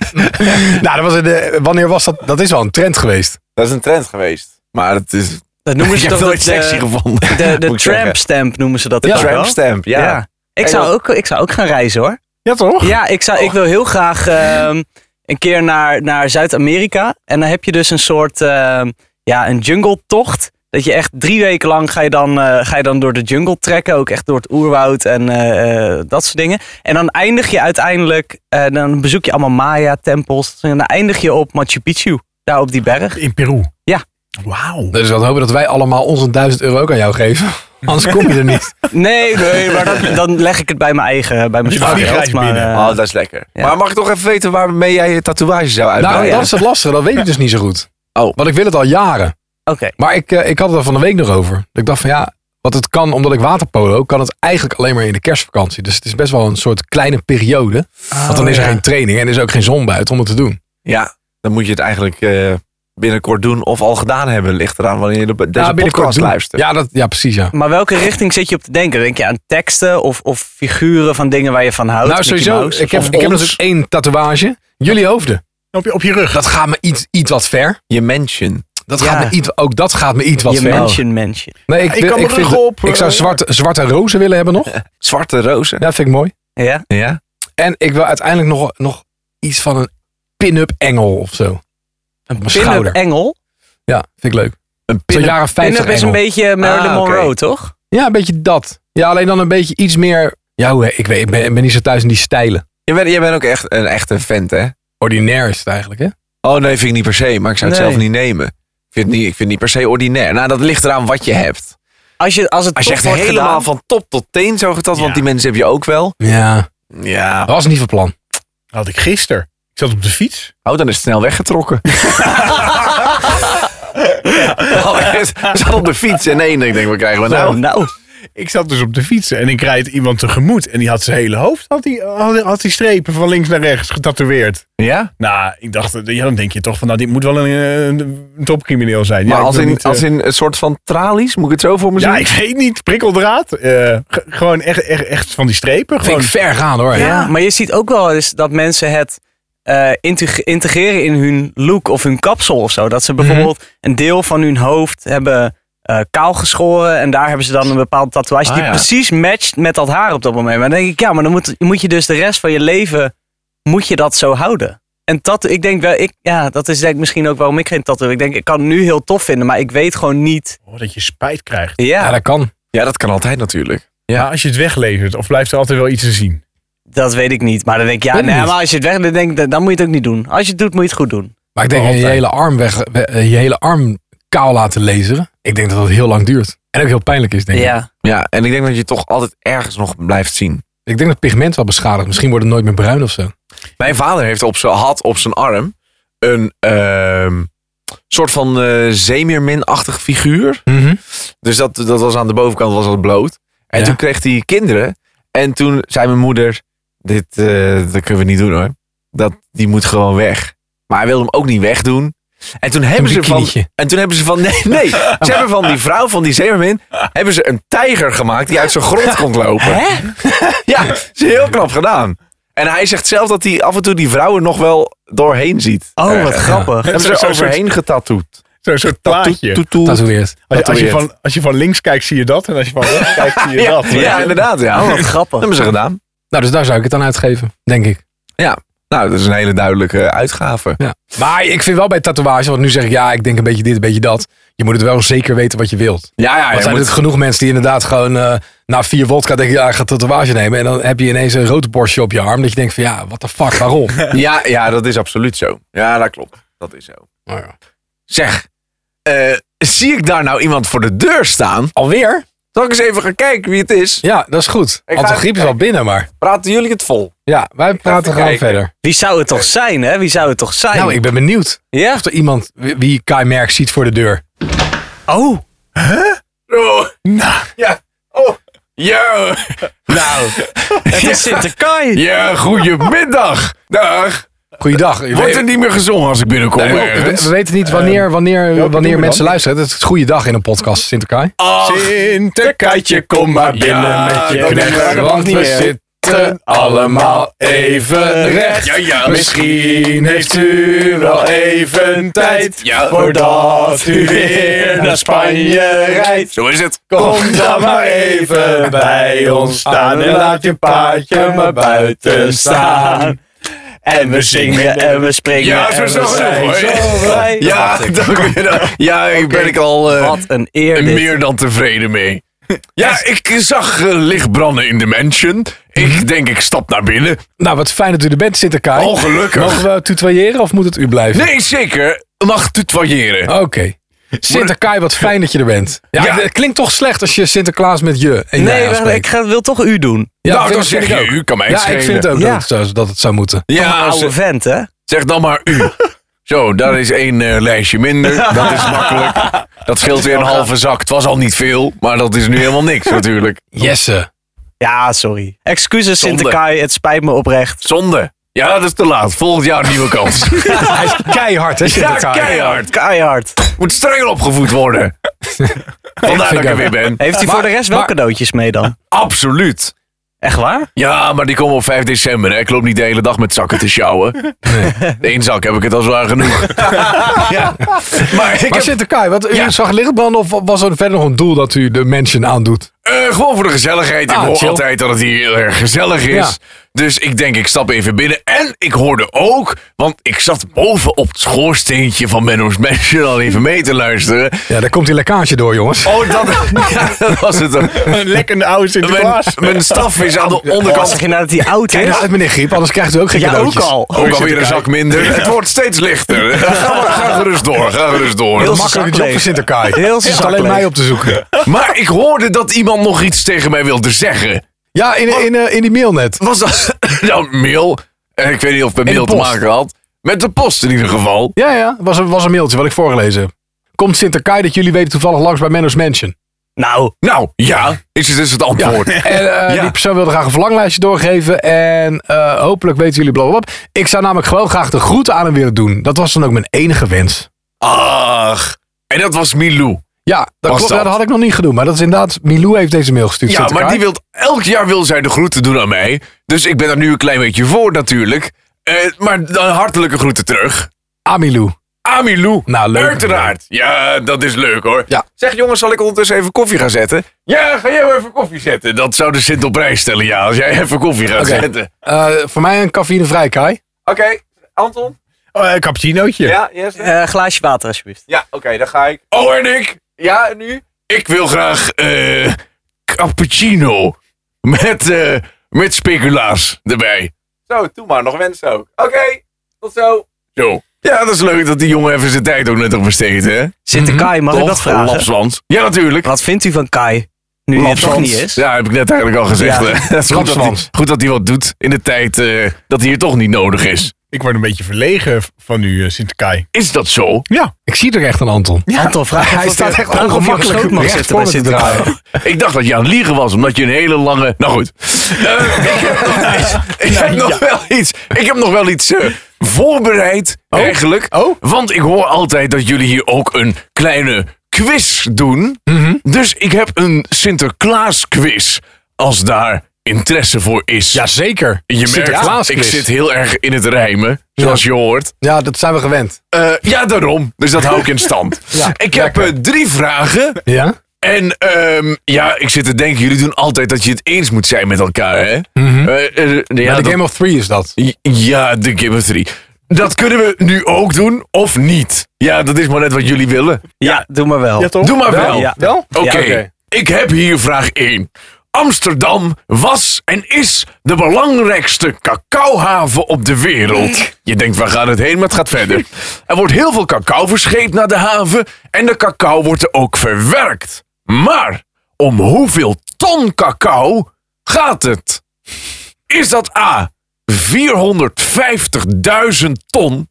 B: Nou, dat was in de, wanneer was dat? Dat is wel een trend geweest.
C: Dat is een trend geweest. Maar het is...
D: Dat noemen
C: Ik
D: ze
C: heb
D: toch
C: nooit
D: dat, eh,
C: sexy gevonden.
D: De, de
C: Moet ik zeggen.
D: tramp stamp noemen ze dat.
C: De
D: ook
C: tramp
D: wel.
C: stamp, ja.
D: Ik zou, ook, ik zou ook gaan reizen hoor.
B: Ja, toch?
D: Ja, ik, zou, ik wil heel graag ehm, een keer naar, naar Zuid-Amerika. En dan heb je dus een soort ehm, ja, een jungle-tocht. Dat je echt drie weken lang ga je, dan, eh, ga je dan door de jungle trekken. Ook echt door het oerwoud en eh, eh, dat soort dingen. En dan eindig je uiteindelijk, eh, dan bezoek je allemaal Maya-tempels. En dan eindig je op Machu Picchu, daar op die berg.
G: In Peru.
D: Ja.
G: Wauw.
B: Dus wat hopen dat wij allemaal onze 1000 euro ook aan jou geven. Anders kom je er niet.
D: Nee, nee, maar dan, dan leg ik het bij mijn eigen, bij mijn
G: Je vliegreis
D: spaargeld. Maar,
G: binnen.
D: eh,
C: Oh, dat is lekker.
D: Ja.
C: Maar mag ik toch even weten waarmee jij je tatoeage zou
B: Nou,
D: Oh,
C: uitbreiden?
B: dat is het lastige. Dat weet ik dus niet zo goed.
C: Oh.
B: Want ik wil het al jaren.
D: Oké.
B: Maar ik, eh, ik had het er van de week nog over. Dat Ik dacht van ja, wat het kan, omdat ik waterpolo, kan het eigenlijk alleen maar in de kerstvakantie. Dus het is best wel een soort kleine
D: Oh,
B: periode. want dan is er geen training en er is ook geen zon buiten om het te doen.
C: Ja, dan moet je het eigenlijk eh, binnenkort doen of al gedaan hebben. Ligt eraan wanneer je de, deze
B: Ja, Nou, binnenkort
C: podcast
B: doen.
C: luistert.
B: Ja, dat, ja precies ja.
D: Maar welke richting zit je op te denken? Denk je aan teksten of, of figuren van dingen waar je van houdt?
B: Nou
D: Mickey
B: sowieso,
D: Mouse
B: ik heb,
D: of
B: ik heb
D: ons?
B: natuurlijk één tatoeage. Jullie hoofden.
G: Op je, op je rug.
B: Dat gaat me iets, iets wat ver.
C: Je mention.
B: Dat
D: Ja.
B: gaat me iets, ook dat gaat me iets wat
D: Je
B: ver.
D: mention, mention.
B: Nee, ik,
G: Ik kan
B: ik,
G: mijn rug
B: vind-
G: op,
B: ik zou
G: eh,
B: zwarte, zwarte rozen willen hebben nog. Ja,
C: Zwarte rozen.
B: dat vind ik mooi.
D: Ja?
C: Ja.
B: En ik wil uiteindelijk nog, nog iets van een pin-up engel of zo. Een
D: Pin-up engel.
B: Ja, vind ik leuk.
C: Een
B: Zo'n
C: pin
B: jaren 50
D: Pin-up
B: engel.
D: is een beetje Marilyn
C: Ah, oké.
D: Monroe, toch?
B: Ja, een beetje dat. Ja, alleen dan een beetje iets meer... Ja, hoe- ik, weet, ik, ben, ik ben niet zo thuis in die stijlen.
C: Jij bent, jij bent ook echt een echte vent, hè?
B: Ordinair is het eigenlijk, hè?
C: Oh nee, vind ik niet per se, maar ik zou het
D: Nee.
C: zelf niet nemen. Ik vind het niet, ik vind het niet per se ordinair. Nou, dat ligt eraan wat je hebt.
D: Als, je, als het
C: Als je
D: top
C: echt
D: wordt
C: helemaal
D: gedaan-
C: van top tot teen zo getast,
G: Ja.
C: want die mensen heb je ook wel.
B: Ja,
C: Ja.
B: dat was niet van plan.
G: Had ik gisteren. Ik zat op de fiets.
C: Oh, dan is het snel weggetrokken. We zat op de fiets en één. Ik denk, we krijgen we
D: Nou,
C: nou.
D: nou.
G: Ik zat dus op de fiets en ik rijd iemand tegemoet. En die had zijn hele hoofd, had die, had, had die strepen van links naar rechts getatoeëerd.
C: Ja?
G: Nou, ik dacht, ja, dan denk je toch van, nou, dit moet wel een, eh, een topcrimineel zijn.
C: Maar
G: ja, ik
C: als,
G: wil
C: in,
G: niet, eh,
C: als in een soort van tralies, moet ik het zo voor me zien?
G: Ja, ik weet niet. Prikkeldraad. eh, ge- gewoon echt, echt, echt van die strepen.
B: Vind
G: Gewoon.
B: ik ver gaan, hoor.
D: Ja, maar je ziet ook wel eens dat mensen het eh, integ- integreren in hun look of hun kapsel of zo. Dat ze bijvoorbeeld een deel van hun hoofd hebben eh, kaal geschoren. En daar hebben ze dan een bepaalde tatoeage
C: Ah,
D: die
C: ja.
D: precies matcht met dat haar op dat moment. Maar dan denk ik, ja, maar dan moet, moet je dus de rest van je leven, moet je dat zo houden. En dat, ik denk wel, ik, ja, dat is denk ik misschien ook waarom ik geen tattoo heb. Ik denk, ik kan het nu heel tof vinden, maar ik weet gewoon niet.
G: Oh, dat je spijt krijgt.
D: Ja,
B: Ja, dat kan.
C: Ja, dat kan altijd natuurlijk.
G: Maar als je het weglevert, of blijft er altijd wel iets te zien?
D: dat weet ik niet. Maar dan denk ik, ja,
B: Weet
D: nee,
B: niet.
D: maar als je het weg, dan, denk, ik, dan dan moet je het ook niet doen. Als je het doet, moet je het goed doen.
B: Maar ik denk dat je hele arm weg, we- eh, je hele arm kaal laten laseren. Ik denk dat dat heel lang duurt. En ook heel pijnlijk is, denk ik.
D: Ja.
C: Ja, en ik denk dat je toch altijd ergens nog blijft zien.
B: Ik denk dat pigment wel beschadigd. Misschien wordt het nooit meer bruin of zo.
C: Mijn vader heeft op zijn, had op zijn arm een ehm, soort van eh zeemeermin-achtig figuur.
D: Mhm.
C: Dus dat, dat was aan de bovenkant was dat bloot. En
B: Ja.
C: toen kreeg hij kinderen. En toen zei mijn moeder, dit eh, dat kunnen we niet doen hoor. Dat, die moet gewoon weg. Maar hij wilde hem ook niet wegdoen. En toen hebben ze van...
B: bikinietje.
C: En toen hebben ze van... Nee, nee. Ze hebben van die vrouw, van die zeemermin... Hebben ze een tijger gemaakt die uit zijn grond kon lopen.
D: Hè?
C: Ja, dat is heel knap gedaan. En hij zegt zelf dat hij af en toe die vrouwen nog wel doorheen ziet.
D: Oh, wat
C: Ergens.
D: grappig.
C: Hebben ze
G: Zo'n
C: er
G: soort-
C: overheen getatoeëerd.
G: Zo'n soort plaatje.
B: Dat is weird.
G: Als je, als, je
C: tatoeëerd.
G: van, als je van links kijkt, zie je dat. En als je van rechts kijkt, zie je
C: Ja,
G: dat.
C: ja, inderdaad. Ja.
D: Oh,
C: Dat
D: wat grappig.
C: hebben ze gedaan.
B: Nou, dus daar zou ik het aan uitgeven, denk ik.
C: Nou, dat is een hele duidelijke uitgave.
B: Ja. Maar ik vind wel bij tatoeage, want nu zeg ik ja, ik denk een beetje dit, een beetje dat. Je moet het wel zeker weten wat je wilt.
C: Ja, ja.
B: Want
C: Je
B: zijn
C: moet,
B: er genoeg mensen die inderdaad gewoon eh, na vier vodka denken, ja, ik ga tatoeage nemen. En dan heb je ineens een rood borstje op je arm. Dat je denkt van ja, wat de fuck, waarom?
C: ja, ja, dat is absoluut zo. Ja, dat klopt. Dat is zo.
B: Nou ja.
C: Zeg, eh, zie ik daar nou iemand voor de deur staan?
B: Alweer?
C: Zal ik eens even gaan kijken wie het is?
B: Ja, dat is goed.
C: Ik
B: Want de
C: ga-
B: griep is al binnen, maar
C: Praten jullie het vol?
B: ja, wij praten gewoon
C: kijken.
B: verder.
D: Wie zou het toch zijn, hè? Wie zou het toch zijn?
B: Nou, ik ben benieuwd
D: Ja?
B: of er iemand wie wie Kai Merk ziet voor de deur.
D: Oh,
C: Oh, nou. Ja. Oh. Yo.
D: nou. Het is Sinterkai.
C: Ja, goedemiddag. Dag.
B: Goeiedag.
C: Wordt er niet meer gezongen als ik binnenkom?
B: Nee, we- we, we weten niet wanneer, wanneer,
G: welke
B: wanneer
G: doen we
B: mensen
G: dan?
B: luisteren. Het is goede dag in een podcast, Sinterkai.
G: Sinterkaatje, kom maar binnen
C: Ja,
G: met je
C: dat doen we
G: knecht.
C: eigenlijk
G: Want
B: niet
G: we
B: meer.
G: zitten allemaal even recht.
C: Ja, ja.
G: Misschien heeft u wel even tijd.
C: Ja.
G: Voordat u weer naar Spanje rijdt.
C: Zo is het.
G: Kom dan maar even bij ons staan en laat je paardje maar buiten staan. En we zingen en we
D: springen.
C: Ja, zo
D: en
C: is
D: we
C: wel genoeg,
D: zijn
C: hoor.
D: zo blij.
C: Ja,
D: Wacht,
C: dank u wel. Ja, ik ben ik al eh,
D: Wat een eer dit.
C: meer dan tevreden mee. Ja, ik zag eh, lichtbranden in de mansion. Ik denk, ik stap naar binnen.
B: Nou, wat fijn dat u er bent, Sinterkai.
C: Oh, gelukkig.
B: Mogen we tutoyeren of moet het u blijven?
C: Nee, zeker. Mag tutoyeren.
B: Oké. Sinterkai, wat fijn dat je er bent. Ja,
C: Ja.
B: Het klinkt toch slecht als je Sinterklaas met je en jij
D: Nee, wacht,
B: aanspreekt.
D: ik ga, wil toch u doen.
B: ja,
C: nou,
B: vind-
C: dan
B: vind
C: zeg
B: ik
C: je
B: ook.
C: u, kan mij
B: Ja,
C: schelen.
B: ik vind ook
D: Ja.
B: dat, het zo, dat het zou moeten.
C: Ja,
D: Oude
C: ze-
D: vent, hè?
C: zeg dan maar u. Zo, daar is één eh, lijstje minder. Dat is makkelijk. Dat scheelt weer een halve zak. Het was al niet veel, maar dat is nu helemaal niks natuurlijk.
B: Jesse.
D: Ja, sorry. Excuses, Sinterkai. Het spijt me oprecht.
C: Zonde. Ja, dat is te laat. Volgend jaar een nieuwe kans.
B: Hij is keihard, hè?
C: ja, keihard.
D: Keihard.
C: Moet strenger opgevoed worden. Vandaar dat ik er weer ben.
D: Heeft hij voor de rest wel
C: maar-
D: cadeautjes mee dan?
C: Absoluut.
D: Echt waar?
C: Ja, maar die komen op 5 december. Hè. Ik loop niet de hele dag met zakken te sjouwen. Eén zak heb ik het al zwaar genoeg. ja. Maar ik
B: Maar
C: heb,
B: Sinterkai, wat u
C: Ja.
B: zag liggen branden of was er verder nog een doel dat u de mensen aandoet?
C: eh, gewoon voor de gezelligheid. Ik
B: Ah,
C: hoor
B: chill.
C: altijd dat het hier heel erg gezellig is.
B: Ja.
C: Dus ik denk, ik stap even binnen. En ik hoorde ook, want ik zat boven op het schoorsteentje van Menno's Mansion al even mee te luisteren.
B: Ja, daar komt die lekkage door, jongens.
C: Oh, dat, ja, dat was het dan.
G: Een lekkende oude
C: Mijn,
G: Sinterklaas.
C: mijn staf is aan de
D: Wat
C: onderkant
D: zeg je nou dat hij oud
B: Kijk
D: is?
B: nou uit, meneer Griep, anders krijgt u ook geen
D: Ja,
B: cadeautjes.
D: ook al.
C: Ook alweer een zak minder. Het wordt steeds lichter. Ga, maar- ga gerust door, ga gerust
D: Heel
C: door.
D: zak
B: Makkelijke job
D: leeg.
B: voor Sinterkai.
D: Heel
B: Is
D: zijn
B: het
D: zak
B: alleen
D: leeg.
B: mij op te zoeken.
C: Maar ik hoorde dat iemand nog iets tegen mij wilde zeggen.
B: Ja, in, in, eh, in die mail net.
C: Was dat nou mail? Eh, Ik weet niet of het met
B: de
C: mail te
B: post.
C: maken had. Met de post in ieder geval.
B: Ja, ja, was een, was een mailtje wat ik voorgelezen heb. Komt Sinterkai dat jullie weten toevallig langs bij Menno's Mansion?
D: Nou,
C: Nou, ja, is het dus het antwoord.
B: En eh,
C: Ja.
B: die persoon wilde graag een verlanglijstje doorgeven. En eh, hopelijk weten jullie blablabla. Ik zou namelijk gewoon graag de groeten aan hem willen doen. Dat was dan ook mijn enige wens.
C: eh, Ach, en dat was Milou.
B: Ja, dat,
C: Was
B: klopt,
C: dat?
B: Ja, dat had ik nog niet genoemd. Maar dat is inderdaad, Milou heeft deze mail gestuurd.
C: Ja,
B: Sinterkai.
C: maar die wil, elk jaar wil zij de groeten doen aan mij. Dus ik ben er nu een klein beetje voor natuurlijk. Eh, maar dan hartelijke groeten terug.
B: Ah, Milou.
C: Aan Milou.
B: Nou, leuk.
C: Uiteraard. Ja, dat is leuk hoor.
B: Ja.
C: Zeg jongens, zal ik ondertussen even koffie gaan zetten? Ja, ga jij maar even koffie zetten. Dat zou de Sint op prijs stellen, ja, als jij even koffie gaat
B: Oké.
C: zetten.
B: Eh, voor mij een cafeïnevrij, Kai.
C: Oké, Anton?
G: Oh, een cappuccinootje.
C: Ja, yes.
D: eh, een glaasje water alsjeblieft.
C: Ja, oké, dan ga ik. Oh, en ik? Ja, en nu? Ik wil graag eh cappuccino met, eh met speculaas erbij. Zo, doe maar. Nog wensen ook. Oké, tot zo. Zo. Ja, dat is leuk dat die jongen even zijn tijd ook nuttig besteedt, hè?
D: Sinterkai, mag ik dat
C: Mhm. Toch?
D: vragen?
C: Lapsland. Ja, natuurlijk.
D: Wat vindt u van Kai? Nu hij er toch niet is?
C: Ja, heb ik net eigenlijk al gezegd.
D: Ja.
C: hè. Dat is goed dat, hij,
B: Lapsland.
C: goed dat hij wat doet in de tijd eh, dat hij hier toch niet nodig is.
G: Ik word een beetje verlegen van u, eh, Sinterkai.
C: Is dat zo?
B: Ik zie er echt een Anton.
D: Anton, vraag
B: Hij
D: even
B: staat
D: of je-
B: echt
D: vraag of je op
B: ongemakkelijk
D: schoot mag
B: recht
D: zitten
B: voor
D: bij
B: me te
D: Sinterklaas.
B: draaien.
C: Ik dacht dat je aan het liegen was, omdat je een hele lange... Nou goed. Eh, ik heb nog iets, ik heb nog wel iets, ik heb nog wel iets eh, voorbereid, eigenlijk.
B: Oh.
C: Want ik hoor altijd dat jullie hier ook een kleine quiz doen.
B: Mhm.
C: Dus ik heb een Sinterklaas quiz, als daar interesse voor is.
B: Jazeker.
C: je merkt, ik
B: Sinterklaasquiz.
C: zit heel erg in het rijmen, zoals je hoort.
B: Ja, dat zijn we gewend.
C: Eh, ja, daarom. Dus dat hou ik in stand.
B: Ja,
C: ik heb eh, drie vragen.
B: Ja?
C: En ehm, ja, ik zit te denken, jullie doen altijd dat je het eens moet zijn met elkaar, hè? Eh, eh, ja,
B: Bij Mhm. de
C: dat-
B: Game of Three is dat.
C: ja, de Game of Three. Dat kunnen we nu ook doen, of niet? Ja, dat is maar net wat jullie willen.
D: Ja, doe maar wel.
G: toch?
C: Doe maar wel.
D: Ja.
B: Wel?
G: Oh.
C: Oké,
D: Ja, oké.
C: ik heb hier vraag 1. Amsterdam was en is de belangrijkste cacaohaven op de wereld. Je denkt, waar gaat het heen, maar het gaat verder. Er wordt heel veel cacao verscheept naar de haven en de cacao wordt er ook verwerkt. Maar om hoeveel ton cacao gaat het? Is dat A, 450.000 ton,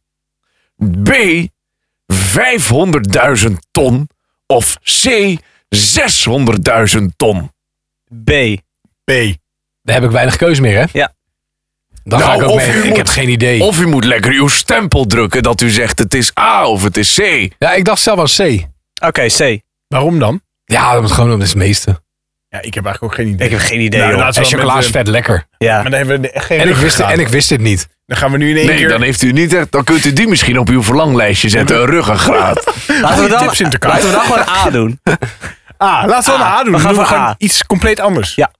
C: B, 500.000 ton of C 600.000 ton.
D: B.
G: B.
B: Daar heb ik weinig keus meer, hè?
D: Ja.
B: Dan
C: Nou,
B: ga ik ook
C: of
B: mee.
C: u
B: Ik
C: moet-
B: heb geen idee.
C: Of u moet lekker uw stempel drukken dat u zegt het is A of het is C.
B: Ja, ik dacht zelf aan C.
D: Oké, C.
G: Waarom dan?
B: Ja, dat is gewoon dat is het meeste.
G: Ja, ik heb eigenlijk ook geen idee.
D: Ik heb geen idee,
G: Nou,
D: joh.
G: laten
B: En
G: we
B: chocola
G: met,
B: is
G: eh,
B: vet lekker.
D: Ja.
G: Maar dan hebben we de- geen
B: En ik,
G: rug
B: wist,
G: gehad.
B: en ik wist dit niet.
G: Dan gaan we nu in één
C: Nee,
G: keer...
C: dan heeft u niet echt. Dan kunt u die misschien op uw verlanglijstje zetten. Een ruggengraat.
D: Laten we dan,
G: tips in te kaart.
D: laten we dan gewoon A doen.
G: Ah, laten we dan
D: Ah,
G: A doen.
D: we gaan
G: Dan doen we
D: voor
G: gewoon
D: A.
G: iets compleet anders.
D: Ja.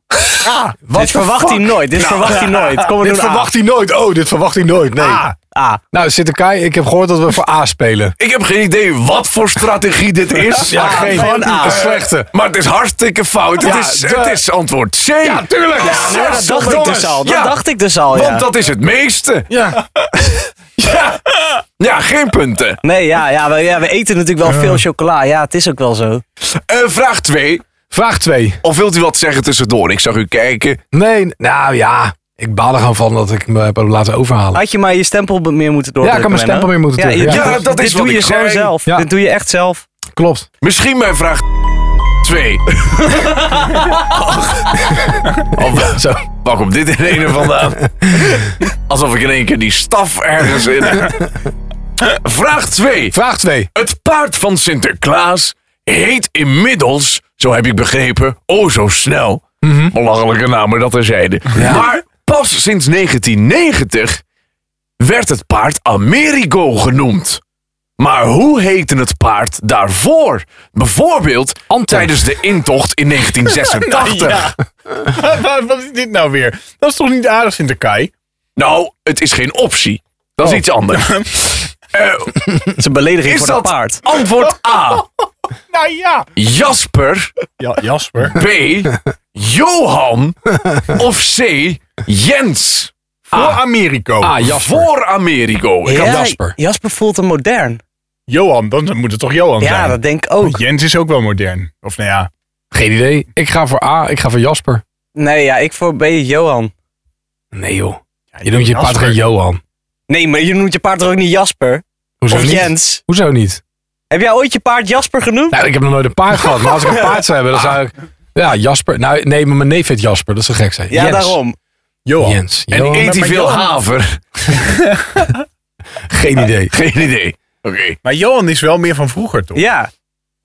G: Ah,
D: dit verwacht hij nooit. Dit verwacht hij nooit. Kom, we doen A.
B: hij nooit. Oh, dit verwacht hij nooit. Nee.
G: Ah,
D: A.
B: Nou, Sinterkai, ik heb gehoord dat we voor A spelen.
C: Ik heb geen idee wat voor strategie dit is.
B: Ja, geen.
D: gewoon A.
B: Een slechte.
C: Maar het is hartstikke fout. Het, is, het is antwoord C. Ja, tuurlijk.
D: Ja, dat dacht ik dus al. Dat
C: Ja.
D: dacht ik dus al, ja.
C: Want dat is het meeste.
B: Ja.
C: Ja, ja geen punten.
D: Nee, ja, ja, we, ja, we eten natuurlijk wel veel chocola. Ja, het is ook wel zo.
C: Eh, vraag 2.
B: Vraag 2.
C: Of wilt u wat zeggen tussendoor? Ik zag u kijken.
B: Nee, nou ja. Ik baal er gewoon van dat ik me heb laten overhalen.
D: Had je maar je stempel be- meer moeten doordrukken.
B: Ja, ik had mijn stempel
D: Menno.
B: meer moeten
D: je-
B: drukken,
C: ja. Ja, dat is
D: dit
C: wat
D: doe
C: ik
D: je gewoon
C: zei.
D: zelf.
B: Ja.
D: Dit doe je echt zelf.
B: Klopt.
C: Misschien bij vraag twee. Al wa-
B: Zo.
C: Waar komt dit in ene vandaan? Alsof ik in één keer die staf ergens in... Vraag 2.
B: Vraag 2.
C: Het paard van Sinterklaas heet inmiddels, zo heb ik begrepen, oh zo snel. Belangrijke namen dat er zeiden. Maar pas sinds 1990 werd het paard Amerigo genoemd. Maar hoe heette het paard daarvoor? Bijvoorbeeld tijdens de intocht in 1986. nou,
G: Wat, wat is dit nou weer? Dat is toch niet aardig, Sinterkai?
C: Nou, het is geen optie. Dat is iets anders. Eh,
D: Het is een belediging
C: is
D: voor dat
C: dat
D: paard.
C: antwoord A,
G: Nou ja.
C: Jasper?
G: ja Jasper.
C: B. Johan. Of C. Jens.
D: Ah.
G: Voor Americo.
C: Voor Americo. Ik had
D: Ja,
C: dat-
B: Jasper.
D: Jasper voelt hem modern.
G: Johan, dan moet het toch Johan
D: Ja,
G: zijn?
D: dat denk ik ook.
G: Jens is ook wel modern. Of nou ja.
B: Geen idee. Ik ga voor A. Ik ga voor Jasper.
D: Nee, ja, ik voor B, Johan.
B: Nee joh. Je noemt je paard
G: Jasper.
B: geen Johan.
D: Nee, maar je noemt je paard toch ook niet Jasper?
B: Hoezo
D: of
B: niet?
D: Jens?
B: Hoezo niet?
D: Heb jij ooit je paard Jasper genoemd?
B: Nou, ik heb nog nooit een paard gehad. Maar als ik een paard zou hebben, dan zou ik... Ja, Jasper. Nou, nee, maar mijn neef heet Jasper. Dat zou gek zijn.
D: ja,
B: Jens.
D: daarom.
G: Johan.
B: Jens.
C: En
B: Johan.
C: eet hij veel haver?
B: Geen idee.
C: Geen idee. Oké.
G: Maar Johan is wel meer van vroeger, toch?
D: Ja.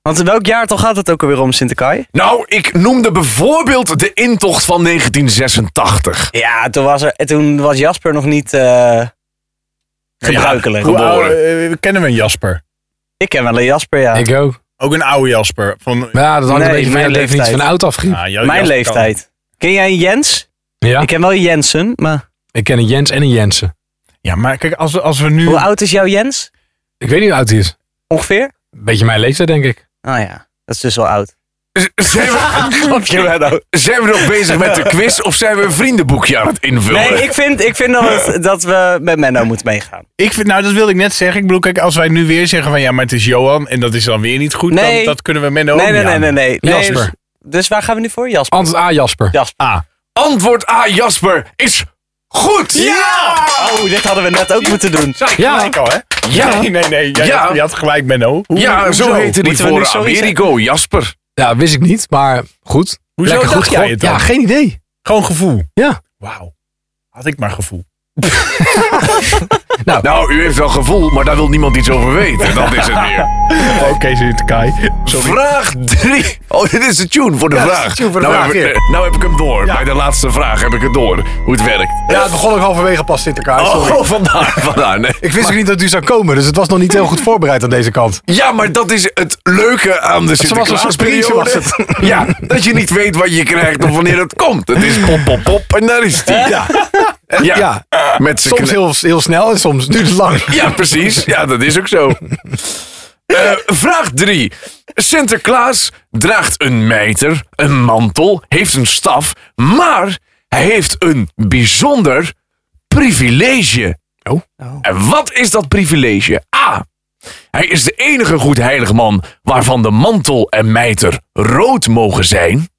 D: Want in welk jaartal gaat het ook alweer om, Sinterkai?
C: Nou, ik noemde bijvoorbeeld de intocht van 1986.
D: Ja, toen was, er, toen was Jasper nog niet eh, gebruikelijk.
G: Hoe
C: Geboren.
G: oude, eh, kennen we een Jasper?
D: ik ken wel een Jasper, ja.
B: Ik ook.
G: Ook een oude Jasper. Van,
B: Maar ja, dat hangt
D: Nee,
B: een beetje van
D: mijn
B: de definitie
D: leeftijd.
B: van oud afgriep.
G: Ah, jouw
D: Mijn
G: Jasper
D: leeftijd. Ken jij een Jens?
B: Ja.
D: Ik
B: Ik,
D: ken wel een Jensen, maar
B: ken een Jens en een Jensen.
G: kan- Ja, maar kijk, als, we- als we nu...
D: hoe oud is jouw Jens?
B: Ik weet niet hoe oud hij is.
D: Ongeveer?
B: Beetje mijn leeftijd, denk ik.
D: Ah ja, dat is dus wel oud.
C: Z- Zijn we,
D: Grapje, Menno.
C: zijn we nog bezig met de quiz of zijn we een vriendenboekje aan het invullen?
D: Nee, ik vind, ik vind dat, het- dat we met Menno moeten meegaan.
G: Ik vind, nou, dat wilde ik net zeggen. Ik bedoel, kijk, als wij nu weer zeggen van ja, maar het is Johan en dat is dan weer niet goed,
D: Nee.
G: dan dat kunnen we Menno
D: Nee,
G: ook
D: nee,
G: niet
D: nee, nee,
G: aan.
D: nee. Nee,
B: Jasper. Oh. Ah.
D: Dus, dus waar gaan we nu voor? Jasper.
B: Antwoord A, Jasper.
D: Jasper.
C: Antwoord A, Jasper, is goed!
D: Oh, dit hadden we net ook moeten doen.
B: Ja.
G: Gelijk Ah, al, hè?
C: Ja.
G: Nee, nee, nee. Jij
C: Ja.
G: had- je had gelijk, Menno. Hoe,
C: Ja, zo
G: hoezo?
C: heette die
D: Moeten we nu
C: voor
D: zo iets-
C: Amerigo, Jasper.
B: Ja, wist ik niet, maar goed.
G: Hoezo
B: Lekker
G: dacht
B: goed
G: jij
B: gewoon-
G: het dan?
B: Ja, geen idee.
G: Gewoon gevoel.
B: Ja.
G: Wauw. Had ik maar gevoel.
C: Nou, u heeft wel gevoel, maar daar wil niemand iets over weten. Dat is het weer.
G: Oké, Sinterkai. Sorry.
C: Vraag 3. Oh, dit is de tune voor de
B: dit is
C: vraag.
B: de tune voor de
C: nou,
B: vraag,
C: heb ik,
B: ja.
C: eh, nou heb ik hem door. Bij de laatste vraag heb ik het door. Hoe het werkt.
B: Ja, het begon ook halverwege pas Sinterklaas.
C: Oh, vandaar, vandaar. Nee.
B: Ik wist ook niet dat u zou komen, dus het was nog niet heel goed voorbereid aan deze kant.
C: Ja, maar dat is het leuke aan de
B: was een
C: Sinterklaasperiode.
B: surprise, was
C: Ja, dat je niet weet wat je krijgt of wanneer het komt. Het is pop, pop, pop en daar is die. Ja,
B: Ja,
C: met z'n
B: soms
C: kne-
B: heel, heel snel en soms duurt het lang.
C: Ja, precies. Ja, dat is ook zo. Eh, vraag 3. Sinterklaas draagt een mijter, een mantel, heeft een staf, maar hij heeft een bijzonder privilege.
B: Oh.
C: En wat is dat privilege? A. Hij is de enige goed heilig man waarvan de mantel en mijter rood mogen zijn.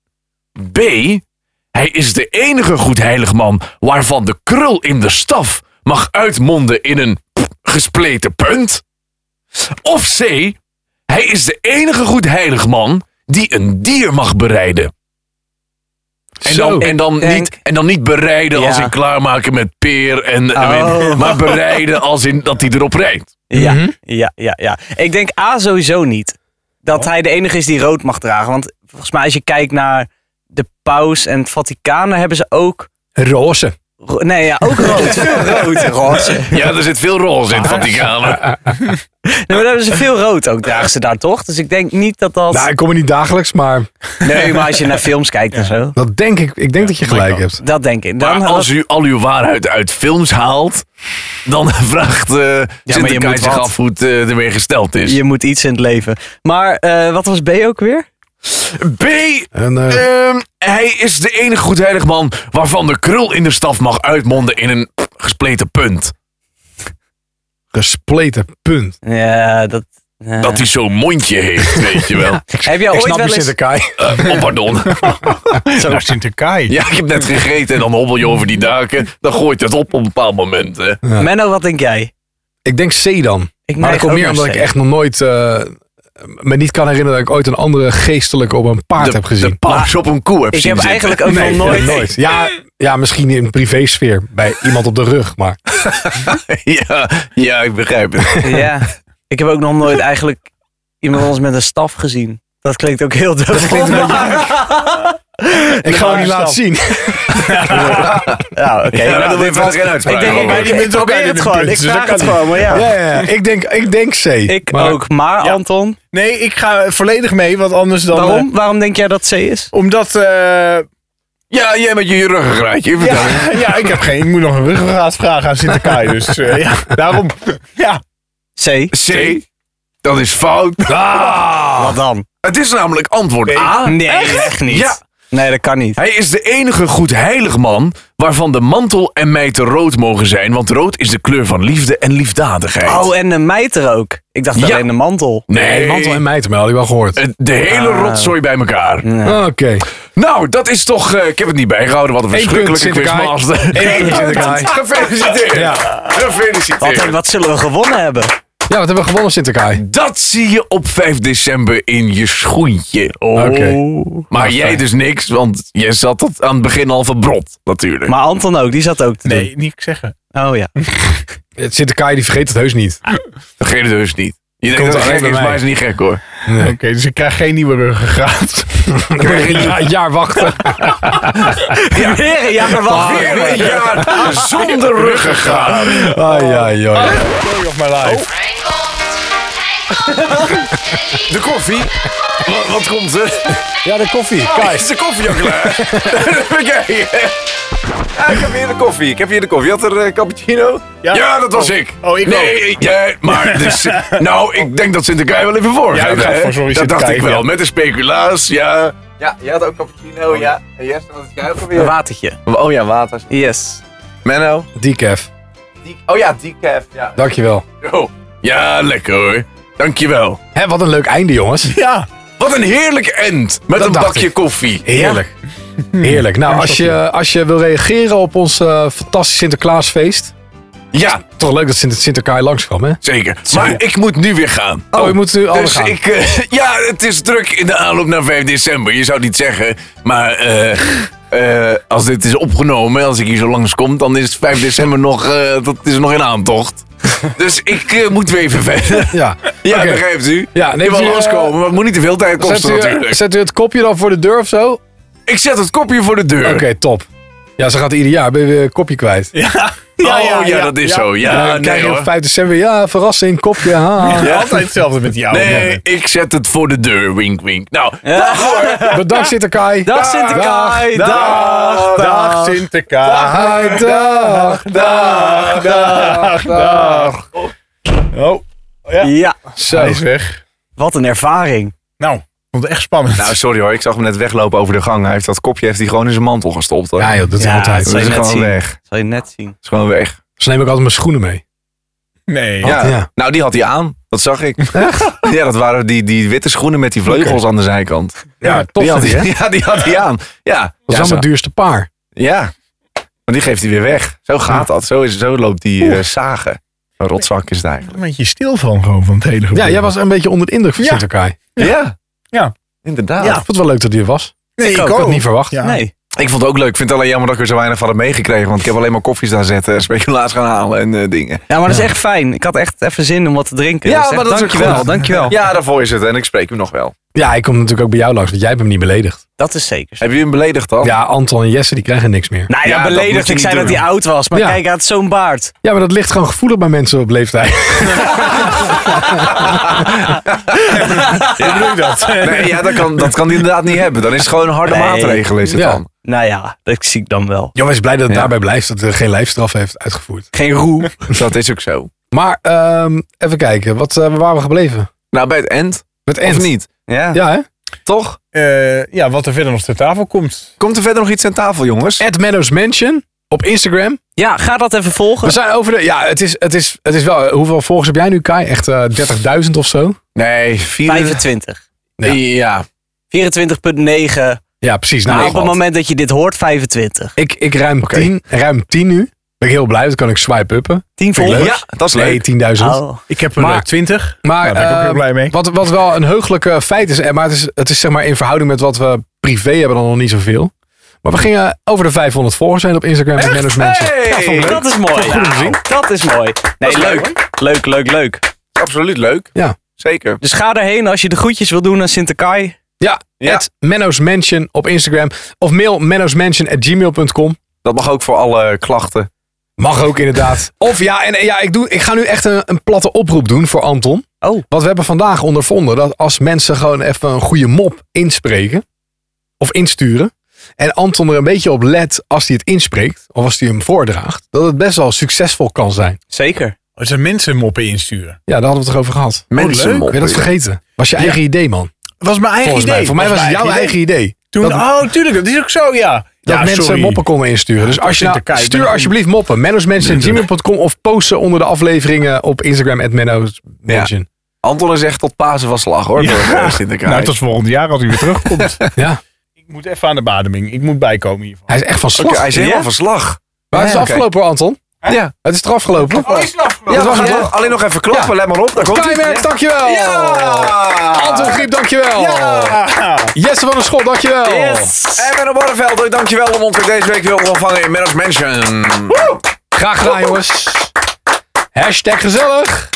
C: B. Hij is de enige goed heilig man waarvan de krul in de staf mag uitmonden in een pff, gespleten punt. Of C. Hij is de enige goed heilig man die een dier mag bereiden. En dan, en, dan
D: Ik denk-
C: niet, en dan niet bereiden
D: Ja.
C: als in klaarmaken met peer, en, en
D: Oh.
C: win, maar bereiden als in dat hij erop rijdt.
D: Ja,
B: Mhm.
D: ja, ja, ja. Ik denk A sowieso niet. Dat
B: Oh.
D: hij de enige is die rood mag dragen. Want volgens mij als je kijkt naar de paus en het Vaticaan, dan hebben ze ook...
B: Roze.
D: ro- Nee, ja, ook rood. veel rood. Roze. Nee,
C: Ja, er zit veel roze in het Vaticaan.
D: maar dan hebben ze veel rood ook, dragen ze daar toch? Dus ik denk niet dat dat...
B: Nou, ik kom er niet dagelijks, maar
D: Nee, maar als je naar films kijkt en zo.
B: dat denk ik. Ik denk dat je gelijk hebt.
D: Dat denk ik. Dan,
C: Maar als u al uw waarheid uit films haalt, dan vraagt eh Sinterklaas
D: moet
C: zich
D: wat.
C: af hoe het eh, ermee gesteld is.
D: Je moet iets in het leven. Maar eh, wat was B ook weer?
C: B.
B: En, eh,
C: ehm, hij is de enige goedheilig man waarvan de krul in de staf mag uitmonden in een pff, gespleten punt.
B: gespleten punt.
D: Ja, dat... eh.
C: Dat hij zo'n mondje heeft, weet je wel.
D: Heb jij
B: Ik
D: ooit
B: snap je
D: wel eens...
B: Sinterkai.
C: Eh, oh, pardon.
G: Zo, Sinterkai.
C: Ja, ik heb net gegeten en dan hobbel je over die daken. Dan gooit het op op een bepaald moment. Hè.
D: Menno, wat denk jij?
B: Ik denk C dan.
D: Ik
B: Maar dat
D: neig
B: komt
D: ook
B: meer
D: naar
B: omdat
D: C.
B: ik echt nog nooit eh, me niet kan herinneren dat ik ooit een andere geestelijke op een paard heb gezien.
C: De paus op een koe heb
D: Ik
C: zien
D: heb
C: zitten.
D: eigenlijk ook nog nooit...
B: Ja, ja, misschien in een privésfeer bij iemand op de rug, maar
C: ja, ja, ik begrijp het.
D: Ja, ik heb ook nog nooit eigenlijk iemand anders met een staf gezien. Dat klinkt ook heel dubbel.
B: ik ga hem niet laten zien.
D: Ja, oké.
C: Ja,
D: nou,
C: dat wordt
D: dit was-
C: geen uitspraak
D: Ik denk,
C: over.
D: ik, ik, ik probeer het gewoon. Ik vraag het gewoon, maar ja.
B: Ja, ja, ja. Ik, denk, ik denk C.
D: Ik
B: Maar-
D: ook, maar
G: Ja.
D: Anton,
G: Nee, ik ga volledig mee, want anders dan...
D: waarom, waarom denk jij dat C is?
G: eh, omdat... eh,
C: Ja, jij met je ruggengraatje. vertel eens.
G: ja, ja, ik heb geen... Ik moet nog een ruggengraat vragen aan Sinterkai, dus eh, ja, daarom. Ja.
D: C.
C: C. Dat is fout.
D: Wat dan?
C: Het is namelijk antwoord A.
D: Nee, echt, niet.
C: Ja.
D: Nee, dat kan niet.
C: Hij is de enige goed heilig man waarvan de mantel en mijter rood mogen zijn, want rood is de kleur van liefde en liefdadigheid.
D: Oh, en de mijter ook. Ik dacht
C: Ja.
D: alleen de mantel.
C: nee,
B: Mantel en mijter, maar had ik wel gehoord. Ah,
C: Het- de hele rotzooi bij elkaar.
B: Oké.
C: Nou, dat is toch. eh, ik heb het niet bijgehouden. Wat een
B: punt,
C: verschrikkelijke
B: Sinterklaas.
C: quizmaster.
B: Eén punt, Sinterklaas.
C: Gefeliciteerd.
B: Ja.
D: Wat,
C: Gefeliciteerd.
D: wat zullen we gewonnen hebben?
B: Ja, wat hebben we gewonnen, Sinterkai?
C: Dat zie je op 5 december in je schoentje. Oh.
B: Oké.
C: Maar jij dus niks, want jij zat dat aan het begin al verbrot, natuurlijk.
D: Maar Anton ook, die zat ook te
G: Nee, niet zeggen.
D: doen. Oh ja.
B: Het Sinterkai die vergeet het heus niet.
C: dat geeft het dus niet. Je denkt
B: Komt
C: dat het
B: alleen
C: gek
B: bij mij.
C: is, maar is niet gek hoor.
G: Oké, dus ik krijg geen nieuwe ruggengraat.
B: Ja, een jaar wachten.
D: Ja, ja maar wacht.
B: Ah,
C: Weer een jaar zonder ruggengraat.
B: Ai, ai, ai.
G: Story of my life.
C: De koffie. Wat, wat komt er? Ah,
B: Ja, de koffie. Kai.
C: Is de koffie al klaar? Kijk. Ah, ik heb hier de koffie. Ik heb hier de koffie. Je had er eh, cappuccino? Ja, dat was ik.
G: Oh, ik
C: nee, jij- maar dus, nou, ik denk dat Sinterklaas wel even voor
G: Ja,
C: gaat,
G: u gaat
C: hè?
G: voor, sorry,
C: Dat dacht ik
G: Sinterklaas,
C: wel.
G: ja.
C: Met de speculaas, ja.
I: Ja, je Ah, had ook cappuccino, ja. En Jess, wat had jij ook
D: Een
I: alweer?
D: watertje.
I: Oh ja, water.
D: Yes.
C: Menno.
B: Decaf.
I: Die- Oh ja, decaf, ja.
B: Dankjewel.
C: Oh, ja, lekker hoor. Dankjewel.
B: Hé, wat een leuk einde, jongens.
G: Ja.
C: Wat een heerlijk end. Met
B: Dat
C: een
B: dacht
C: bakje
B: ik.
C: koffie.
B: Heerlijk. Heerlijk. Nou, als je, als je wil reageren op ons eh fantastisch Sinterklaasfeest.
C: Ja,
B: Toch leuk dat Sinter Sinterkai langskwam, hè?
C: zeker. Maar ik moet nu weer gaan.
B: Oh, je moet nu alle
C: Dus
B: gaan.
C: ik, eh, ja, het is druk in de aanloop naar 5 december. Je zou het niet zeggen, maar eh, eh, als dit is opgenomen, als ik hier zo langskom, dan is 5 december nog, eh, dat is nog in aantocht. Dus ik eh, moet weer even verder.
B: Ja.
C: Ja,
B: Oké.
C: begrijpt u?
B: Ja, neemt
C: je wil
B: u, eh,
C: loskomen, maar het moet niet te veel tijd
B: Zet
C: kosten
B: u, eh,
C: natuurlijk.
B: zet u het kopje dan voor de deur of zo? Oké,
C: Ik zet het kopje voor de deur.
B: top. Ja, ze gaat ieder jaar ben je weer een kopje kwijt. Ja,
C: oh ja, dat is zo.
B: dan
C: Ja,
B: krijg
C: nee
B: je op
C: hoor.
B: 5 december, ja, verrassing, kopje. Ha.
C: Ja.
G: Altijd hetzelfde met jou.
C: Nee, ik zet het voor de deur, wink wink. Nou, dag hoor.
B: Bedankt Sinterkai.
D: Dag Sinterklaai. Dag.
G: Dag, dag Sinterklaas.
B: Hi, dag.
G: Dag, dag, dag. Oh,
D: Ja.
B: Zo.
G: hij is weg.
D: Wat een ervaring.
G: Nou, ik vond het echt spannend.
C: Nou, sorry hoor, ik zag hem net weglopen over de gang. Hij heeft dat kopje heeft hij gewoon in zijn mantel gestopt hoor.
B: Ja joh, dat is
D: Ja,
B: altijd.
C: dat
D: dat zou
C: is
D: je net
C: gewoon
D: zien.
C: weg. Dat
D: Zal je net zien.
C: is gewoon weg.
B: Ze neem ik altijd mijn schoenen mee.
G: nee.
C: Ja.
B: Ja.
C: nou die had hij aan. Dat zag ik. Ja, dat waren die, die witte schoenen met die vleugels aan de zijkant.
B: Ja, tof
C: die had
B: vind
C: hij,
B: ik, hè?
C: Ja, die had hij aan. Ja.
B: Dat is
C: ja, zo-
B: wel mijn duurste paar.
C: ja. Maar die geeft hij weer weg. Zo gaat dat. Zo, is, zo loopt die eh zagen. Een rotzak is het eigenlijk.
G: Een beetje stil van gewoon van het hele gebeuren.
B: Ja, jij was een beetje onder de indruk van
G: Ja.
B: Sinterkai.
C: Ja.
G: Ja.
C: Inderdaad.
B: Ik vond het wel leuk dat hij er was.
G: nee,
B: Ik had het niet verwacht.
G: Ja.
D: Nee.
C: Ik vond het ook leuk. Ik vind het alleen jammer dat ik er zo weinig van heb meegekregen. Want ik heb alleen maar koffies daar zetten. en Speculaas gaan halen en eh, dingen.
D: Ja, maar dat is echt fijn. Ik had echt even zin om wat te drinken.
C: Ja,
D: Dus echt,
C: maar dat is ook
D: dankjewel,
C: goed.
D: dankjewel.
C: Ja, daarvoor is het. En ik spreek hem nog wel.
B: Ja, ik kom natuurlijk ook bij jou langs, want jij hebt hem niet beledigd.
D: Dat is zeker. zo.
C: Heb je hem beledigd dan?
B: Ja, Anton en Jesse, die krijgen niks meer.
D: Nou
C: Ja,
D: ja,
C: dat moet
D: beledigd.
C: je
D: Ik
C: niet
D: zei dat
C: doen.
D: hij oud was. Maar
B: Ja.
D: kijk, hij had zo'n baard.
B: Ja, maar dat ligt gewoon gevoelig bij mensen op leeftijd.
G: Ik bedoel dat.
C: Nee, ja dat kan, dat kan hij inderdaad niet hebben. Dan is het gewoon een harde
D: Nee.
C: maatregel is het
B: Ja.
C: dan.
D: Nou ja, dat zie ik dan wel.
B: Jongens, blij dat het
C: Ja.
B: daarbij blijft, dat hij geen lijfstraf heeft uitgevoerd.
D: Geen roe.
C: Dat is ook zo.
B: Maar ehm, even kijken, wat, eh, waar waren we gebleven?
C: Nou, bij het end.
B: Met Ent.
C: Of niet? Ja.
B: Ja, hè?
C: Toch?
G: Eh, ja, wat er verder nog ter tafel komt.
C: Komt er verder nog iets aan tafel, jongens?
B: At Meadows Mansion op Instagram.
D: Ja, ga dat even
B: We
D: volgen.
B: zijn over de... Ja, het is, het is, het is wel... eh, Hoeveel volgers heb jij nu, Kai? Echt eh, 30.000 of zo?
C: Nee, vier...
D: 25.
C: Ja. ja.
D: 24.9.
B: Ja, precies.
D: Nou,
B: Nou,
D: op het moment dat je dit hoort, 25.
B: ik, ik ruim, 10, ruim 10 nu. ben ik heel blij, want dan kan ik swipe-uppen.
D: Tien volgers?
C: Ja, dat is
B: Nee,
C: leuk.
B: 10.000.
D: Oh.
G: Ik heb er
B: Maar-
G: eh, 20.
B: Maar
G: Daar ben ik ook
B: eh,
G: heel blij mee.
B: Wat, wat wel een heugelijk eh, feit is, eh, maar het is, het is zeg maar in verhouding met wat we privé hebben dan nog niet zoveel. Maar we gingen over de 500 volgers heen op Instagram met
C: dus
B: Menno's Mensen.
C: Hey,
D: Dat is mooi.
B: Goed om te
D: Nou,
B: zien.
D: Dat is mooi. Nee,
C: is leuk,
D: leuk. Leuk, leuk, leuk.
C: absoluut leuk.
B: Ja.
C: Zeker.
D: Dus ga erheen als je de groetjes wil doen aan Sinterkai.
B: Ja,
C: Ja.
B: at Menno's Mansion op Instagram. Of mail menno'smansion at gmail.com.
C: Dat mag ook voor alle klachten.
B: Mag ook inderdaad. Of ja, en eh, ja, ik, doe, ik ga nu echt een, een platte oproep doen voor Anton.
D: Oh.
B: Want we hebben vandaag ondervonden dat als mensen gewoon even een goede mop inspreken. Of insturen. En Anton er een beetje op let als hij het inspreekt. Of als hij hem voordraagt. Dat het best wel succesvol kan zijn.
D: Zeker.
G: Als er mensen moppen insturen.
B: Ja, daar hadden we het toch over gehad.
C: Mensen
B: Ik ben het vergeten. Was je eigen idee, man.
G: Was mijn eigen
B: Volgens
G: idee.
B: mij. Voor mij was het
G: mijn
B: jouw eigen idee.
G: Toen,
B: dat-
G: oh, tuurlijk. Dat is ook zo, ja.
B: Dat
G: ja,
B: mensen
G: sorry.
B: moppen konden insturen. Dus
G: Ja,
B: als je
G: ik
B: nou,
G: zit te kijken.
B: stuur alsjeblieft moppen. Menno'smansion.gmail.com of post ze onder de afleveringen op Instagram. At Menno'smansion.
C: Anton is echt tot Pasen van slag hoor.
G: Ja.
C: door, eh, Sinterklaas.
G: Nou, tot volgend jaar als hij weer terugkomt.
B: Ja.
G: Ik moet even aan de bademing. Ik moet bijkomen hiervan.
B: Hij is echt van slag.
C: Oké, hij is helemaal
D: Ja?
C: van slag.
B: Maar het is
C: Ja, oké. Oh,
B: afgelopen, hoor, Anton.
C: Ja.
B: Het is er afgelopen.
C: Ja, we gaan nog- alleen nog even klappen. Let maar op, daar komt hij.
B: Keimerk, dankjewel. Anton Griep, dankjewel. Jesse van der Schot, dankjewel.
C: En Menno Barneveld, dankjewel om ons weer deze week weer te ontvangen in Menno's Mansion.
B: Graag gedaan, jongens. Hashtag gezellig.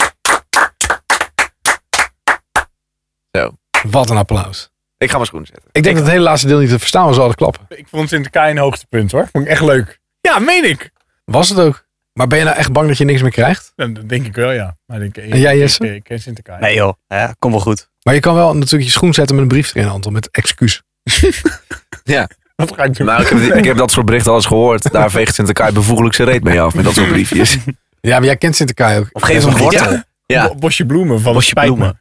C: Zo.
B: Wat een applaus.
C: Ik ga mijn schoen zetten.
B: Ik denk dat het hele laatste deel niet te verstaan was, al de klappen.
G: Ik vond Sinterkai een hoogtepunt hoor. Vond ik echt leuk. Ja, meen ik.
B: Was het ook. Maar ben je nou echt bang dat je niks meer krijgt?
G: Dat dat denk ik wel, ja. Maar ik, ik,
B: En jij,
G: ik-
B: Jesse?
G: Ik, ik ken Sinterkai.
D: Nee joh, ja, kom wel goed.
B: Maar je kan wel natuurlijk je schoen zetten met een brief erin, Anton. Met excuus.
G: Wat ga ik doen?
C: Nou, ik heb, ik heb dat soort berichten al eens gehoord. Daar veegt Sinterkai bevoeglijk zijn reet mee af met dat soort briefjes.
B: Ja, maar jij kent Sinterklaas ook.
D: Of geef hem een wortel. Ja.
C: Ja.
G: Bo- Bosje bloemen van
D: Bosje
G: Spijt me.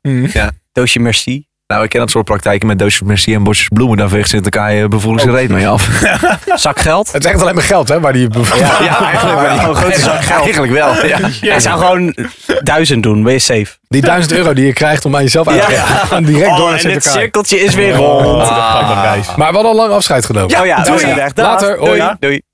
D: bloemen. Doosje merci.
C: Nou, ik ken dat soort praktijken met doosjes merci en bosjes bloemen. Daar veegt Sinterkai eh, bevoeglijk zijn reet mee af.
D: Zak geld.
B: Het is echt alleen maar geld, hè? Waar die... Ja.
C: eigenlijk wel.
D: Een grote zak geld.
C: Eigenlijk wel, ja.
D: Hij zou gewoon duizend doen, ben je safe.
B: Die duizend euro die je krijgt om aan jezelf uit te geven. Gewoon direct door
D: Oh,
B: naar
D: en dit
B: Sinterklaas.
D: cirkeltje is weer rond. Ah.
G: Oh, dat gaat wel reis.
B: Maar we hadden al lang afscheid genomen.
D: Oh ja,
C: Doei.
D: dat is echt. Dag.
B: Later, hoi.
D: Doei. Doei.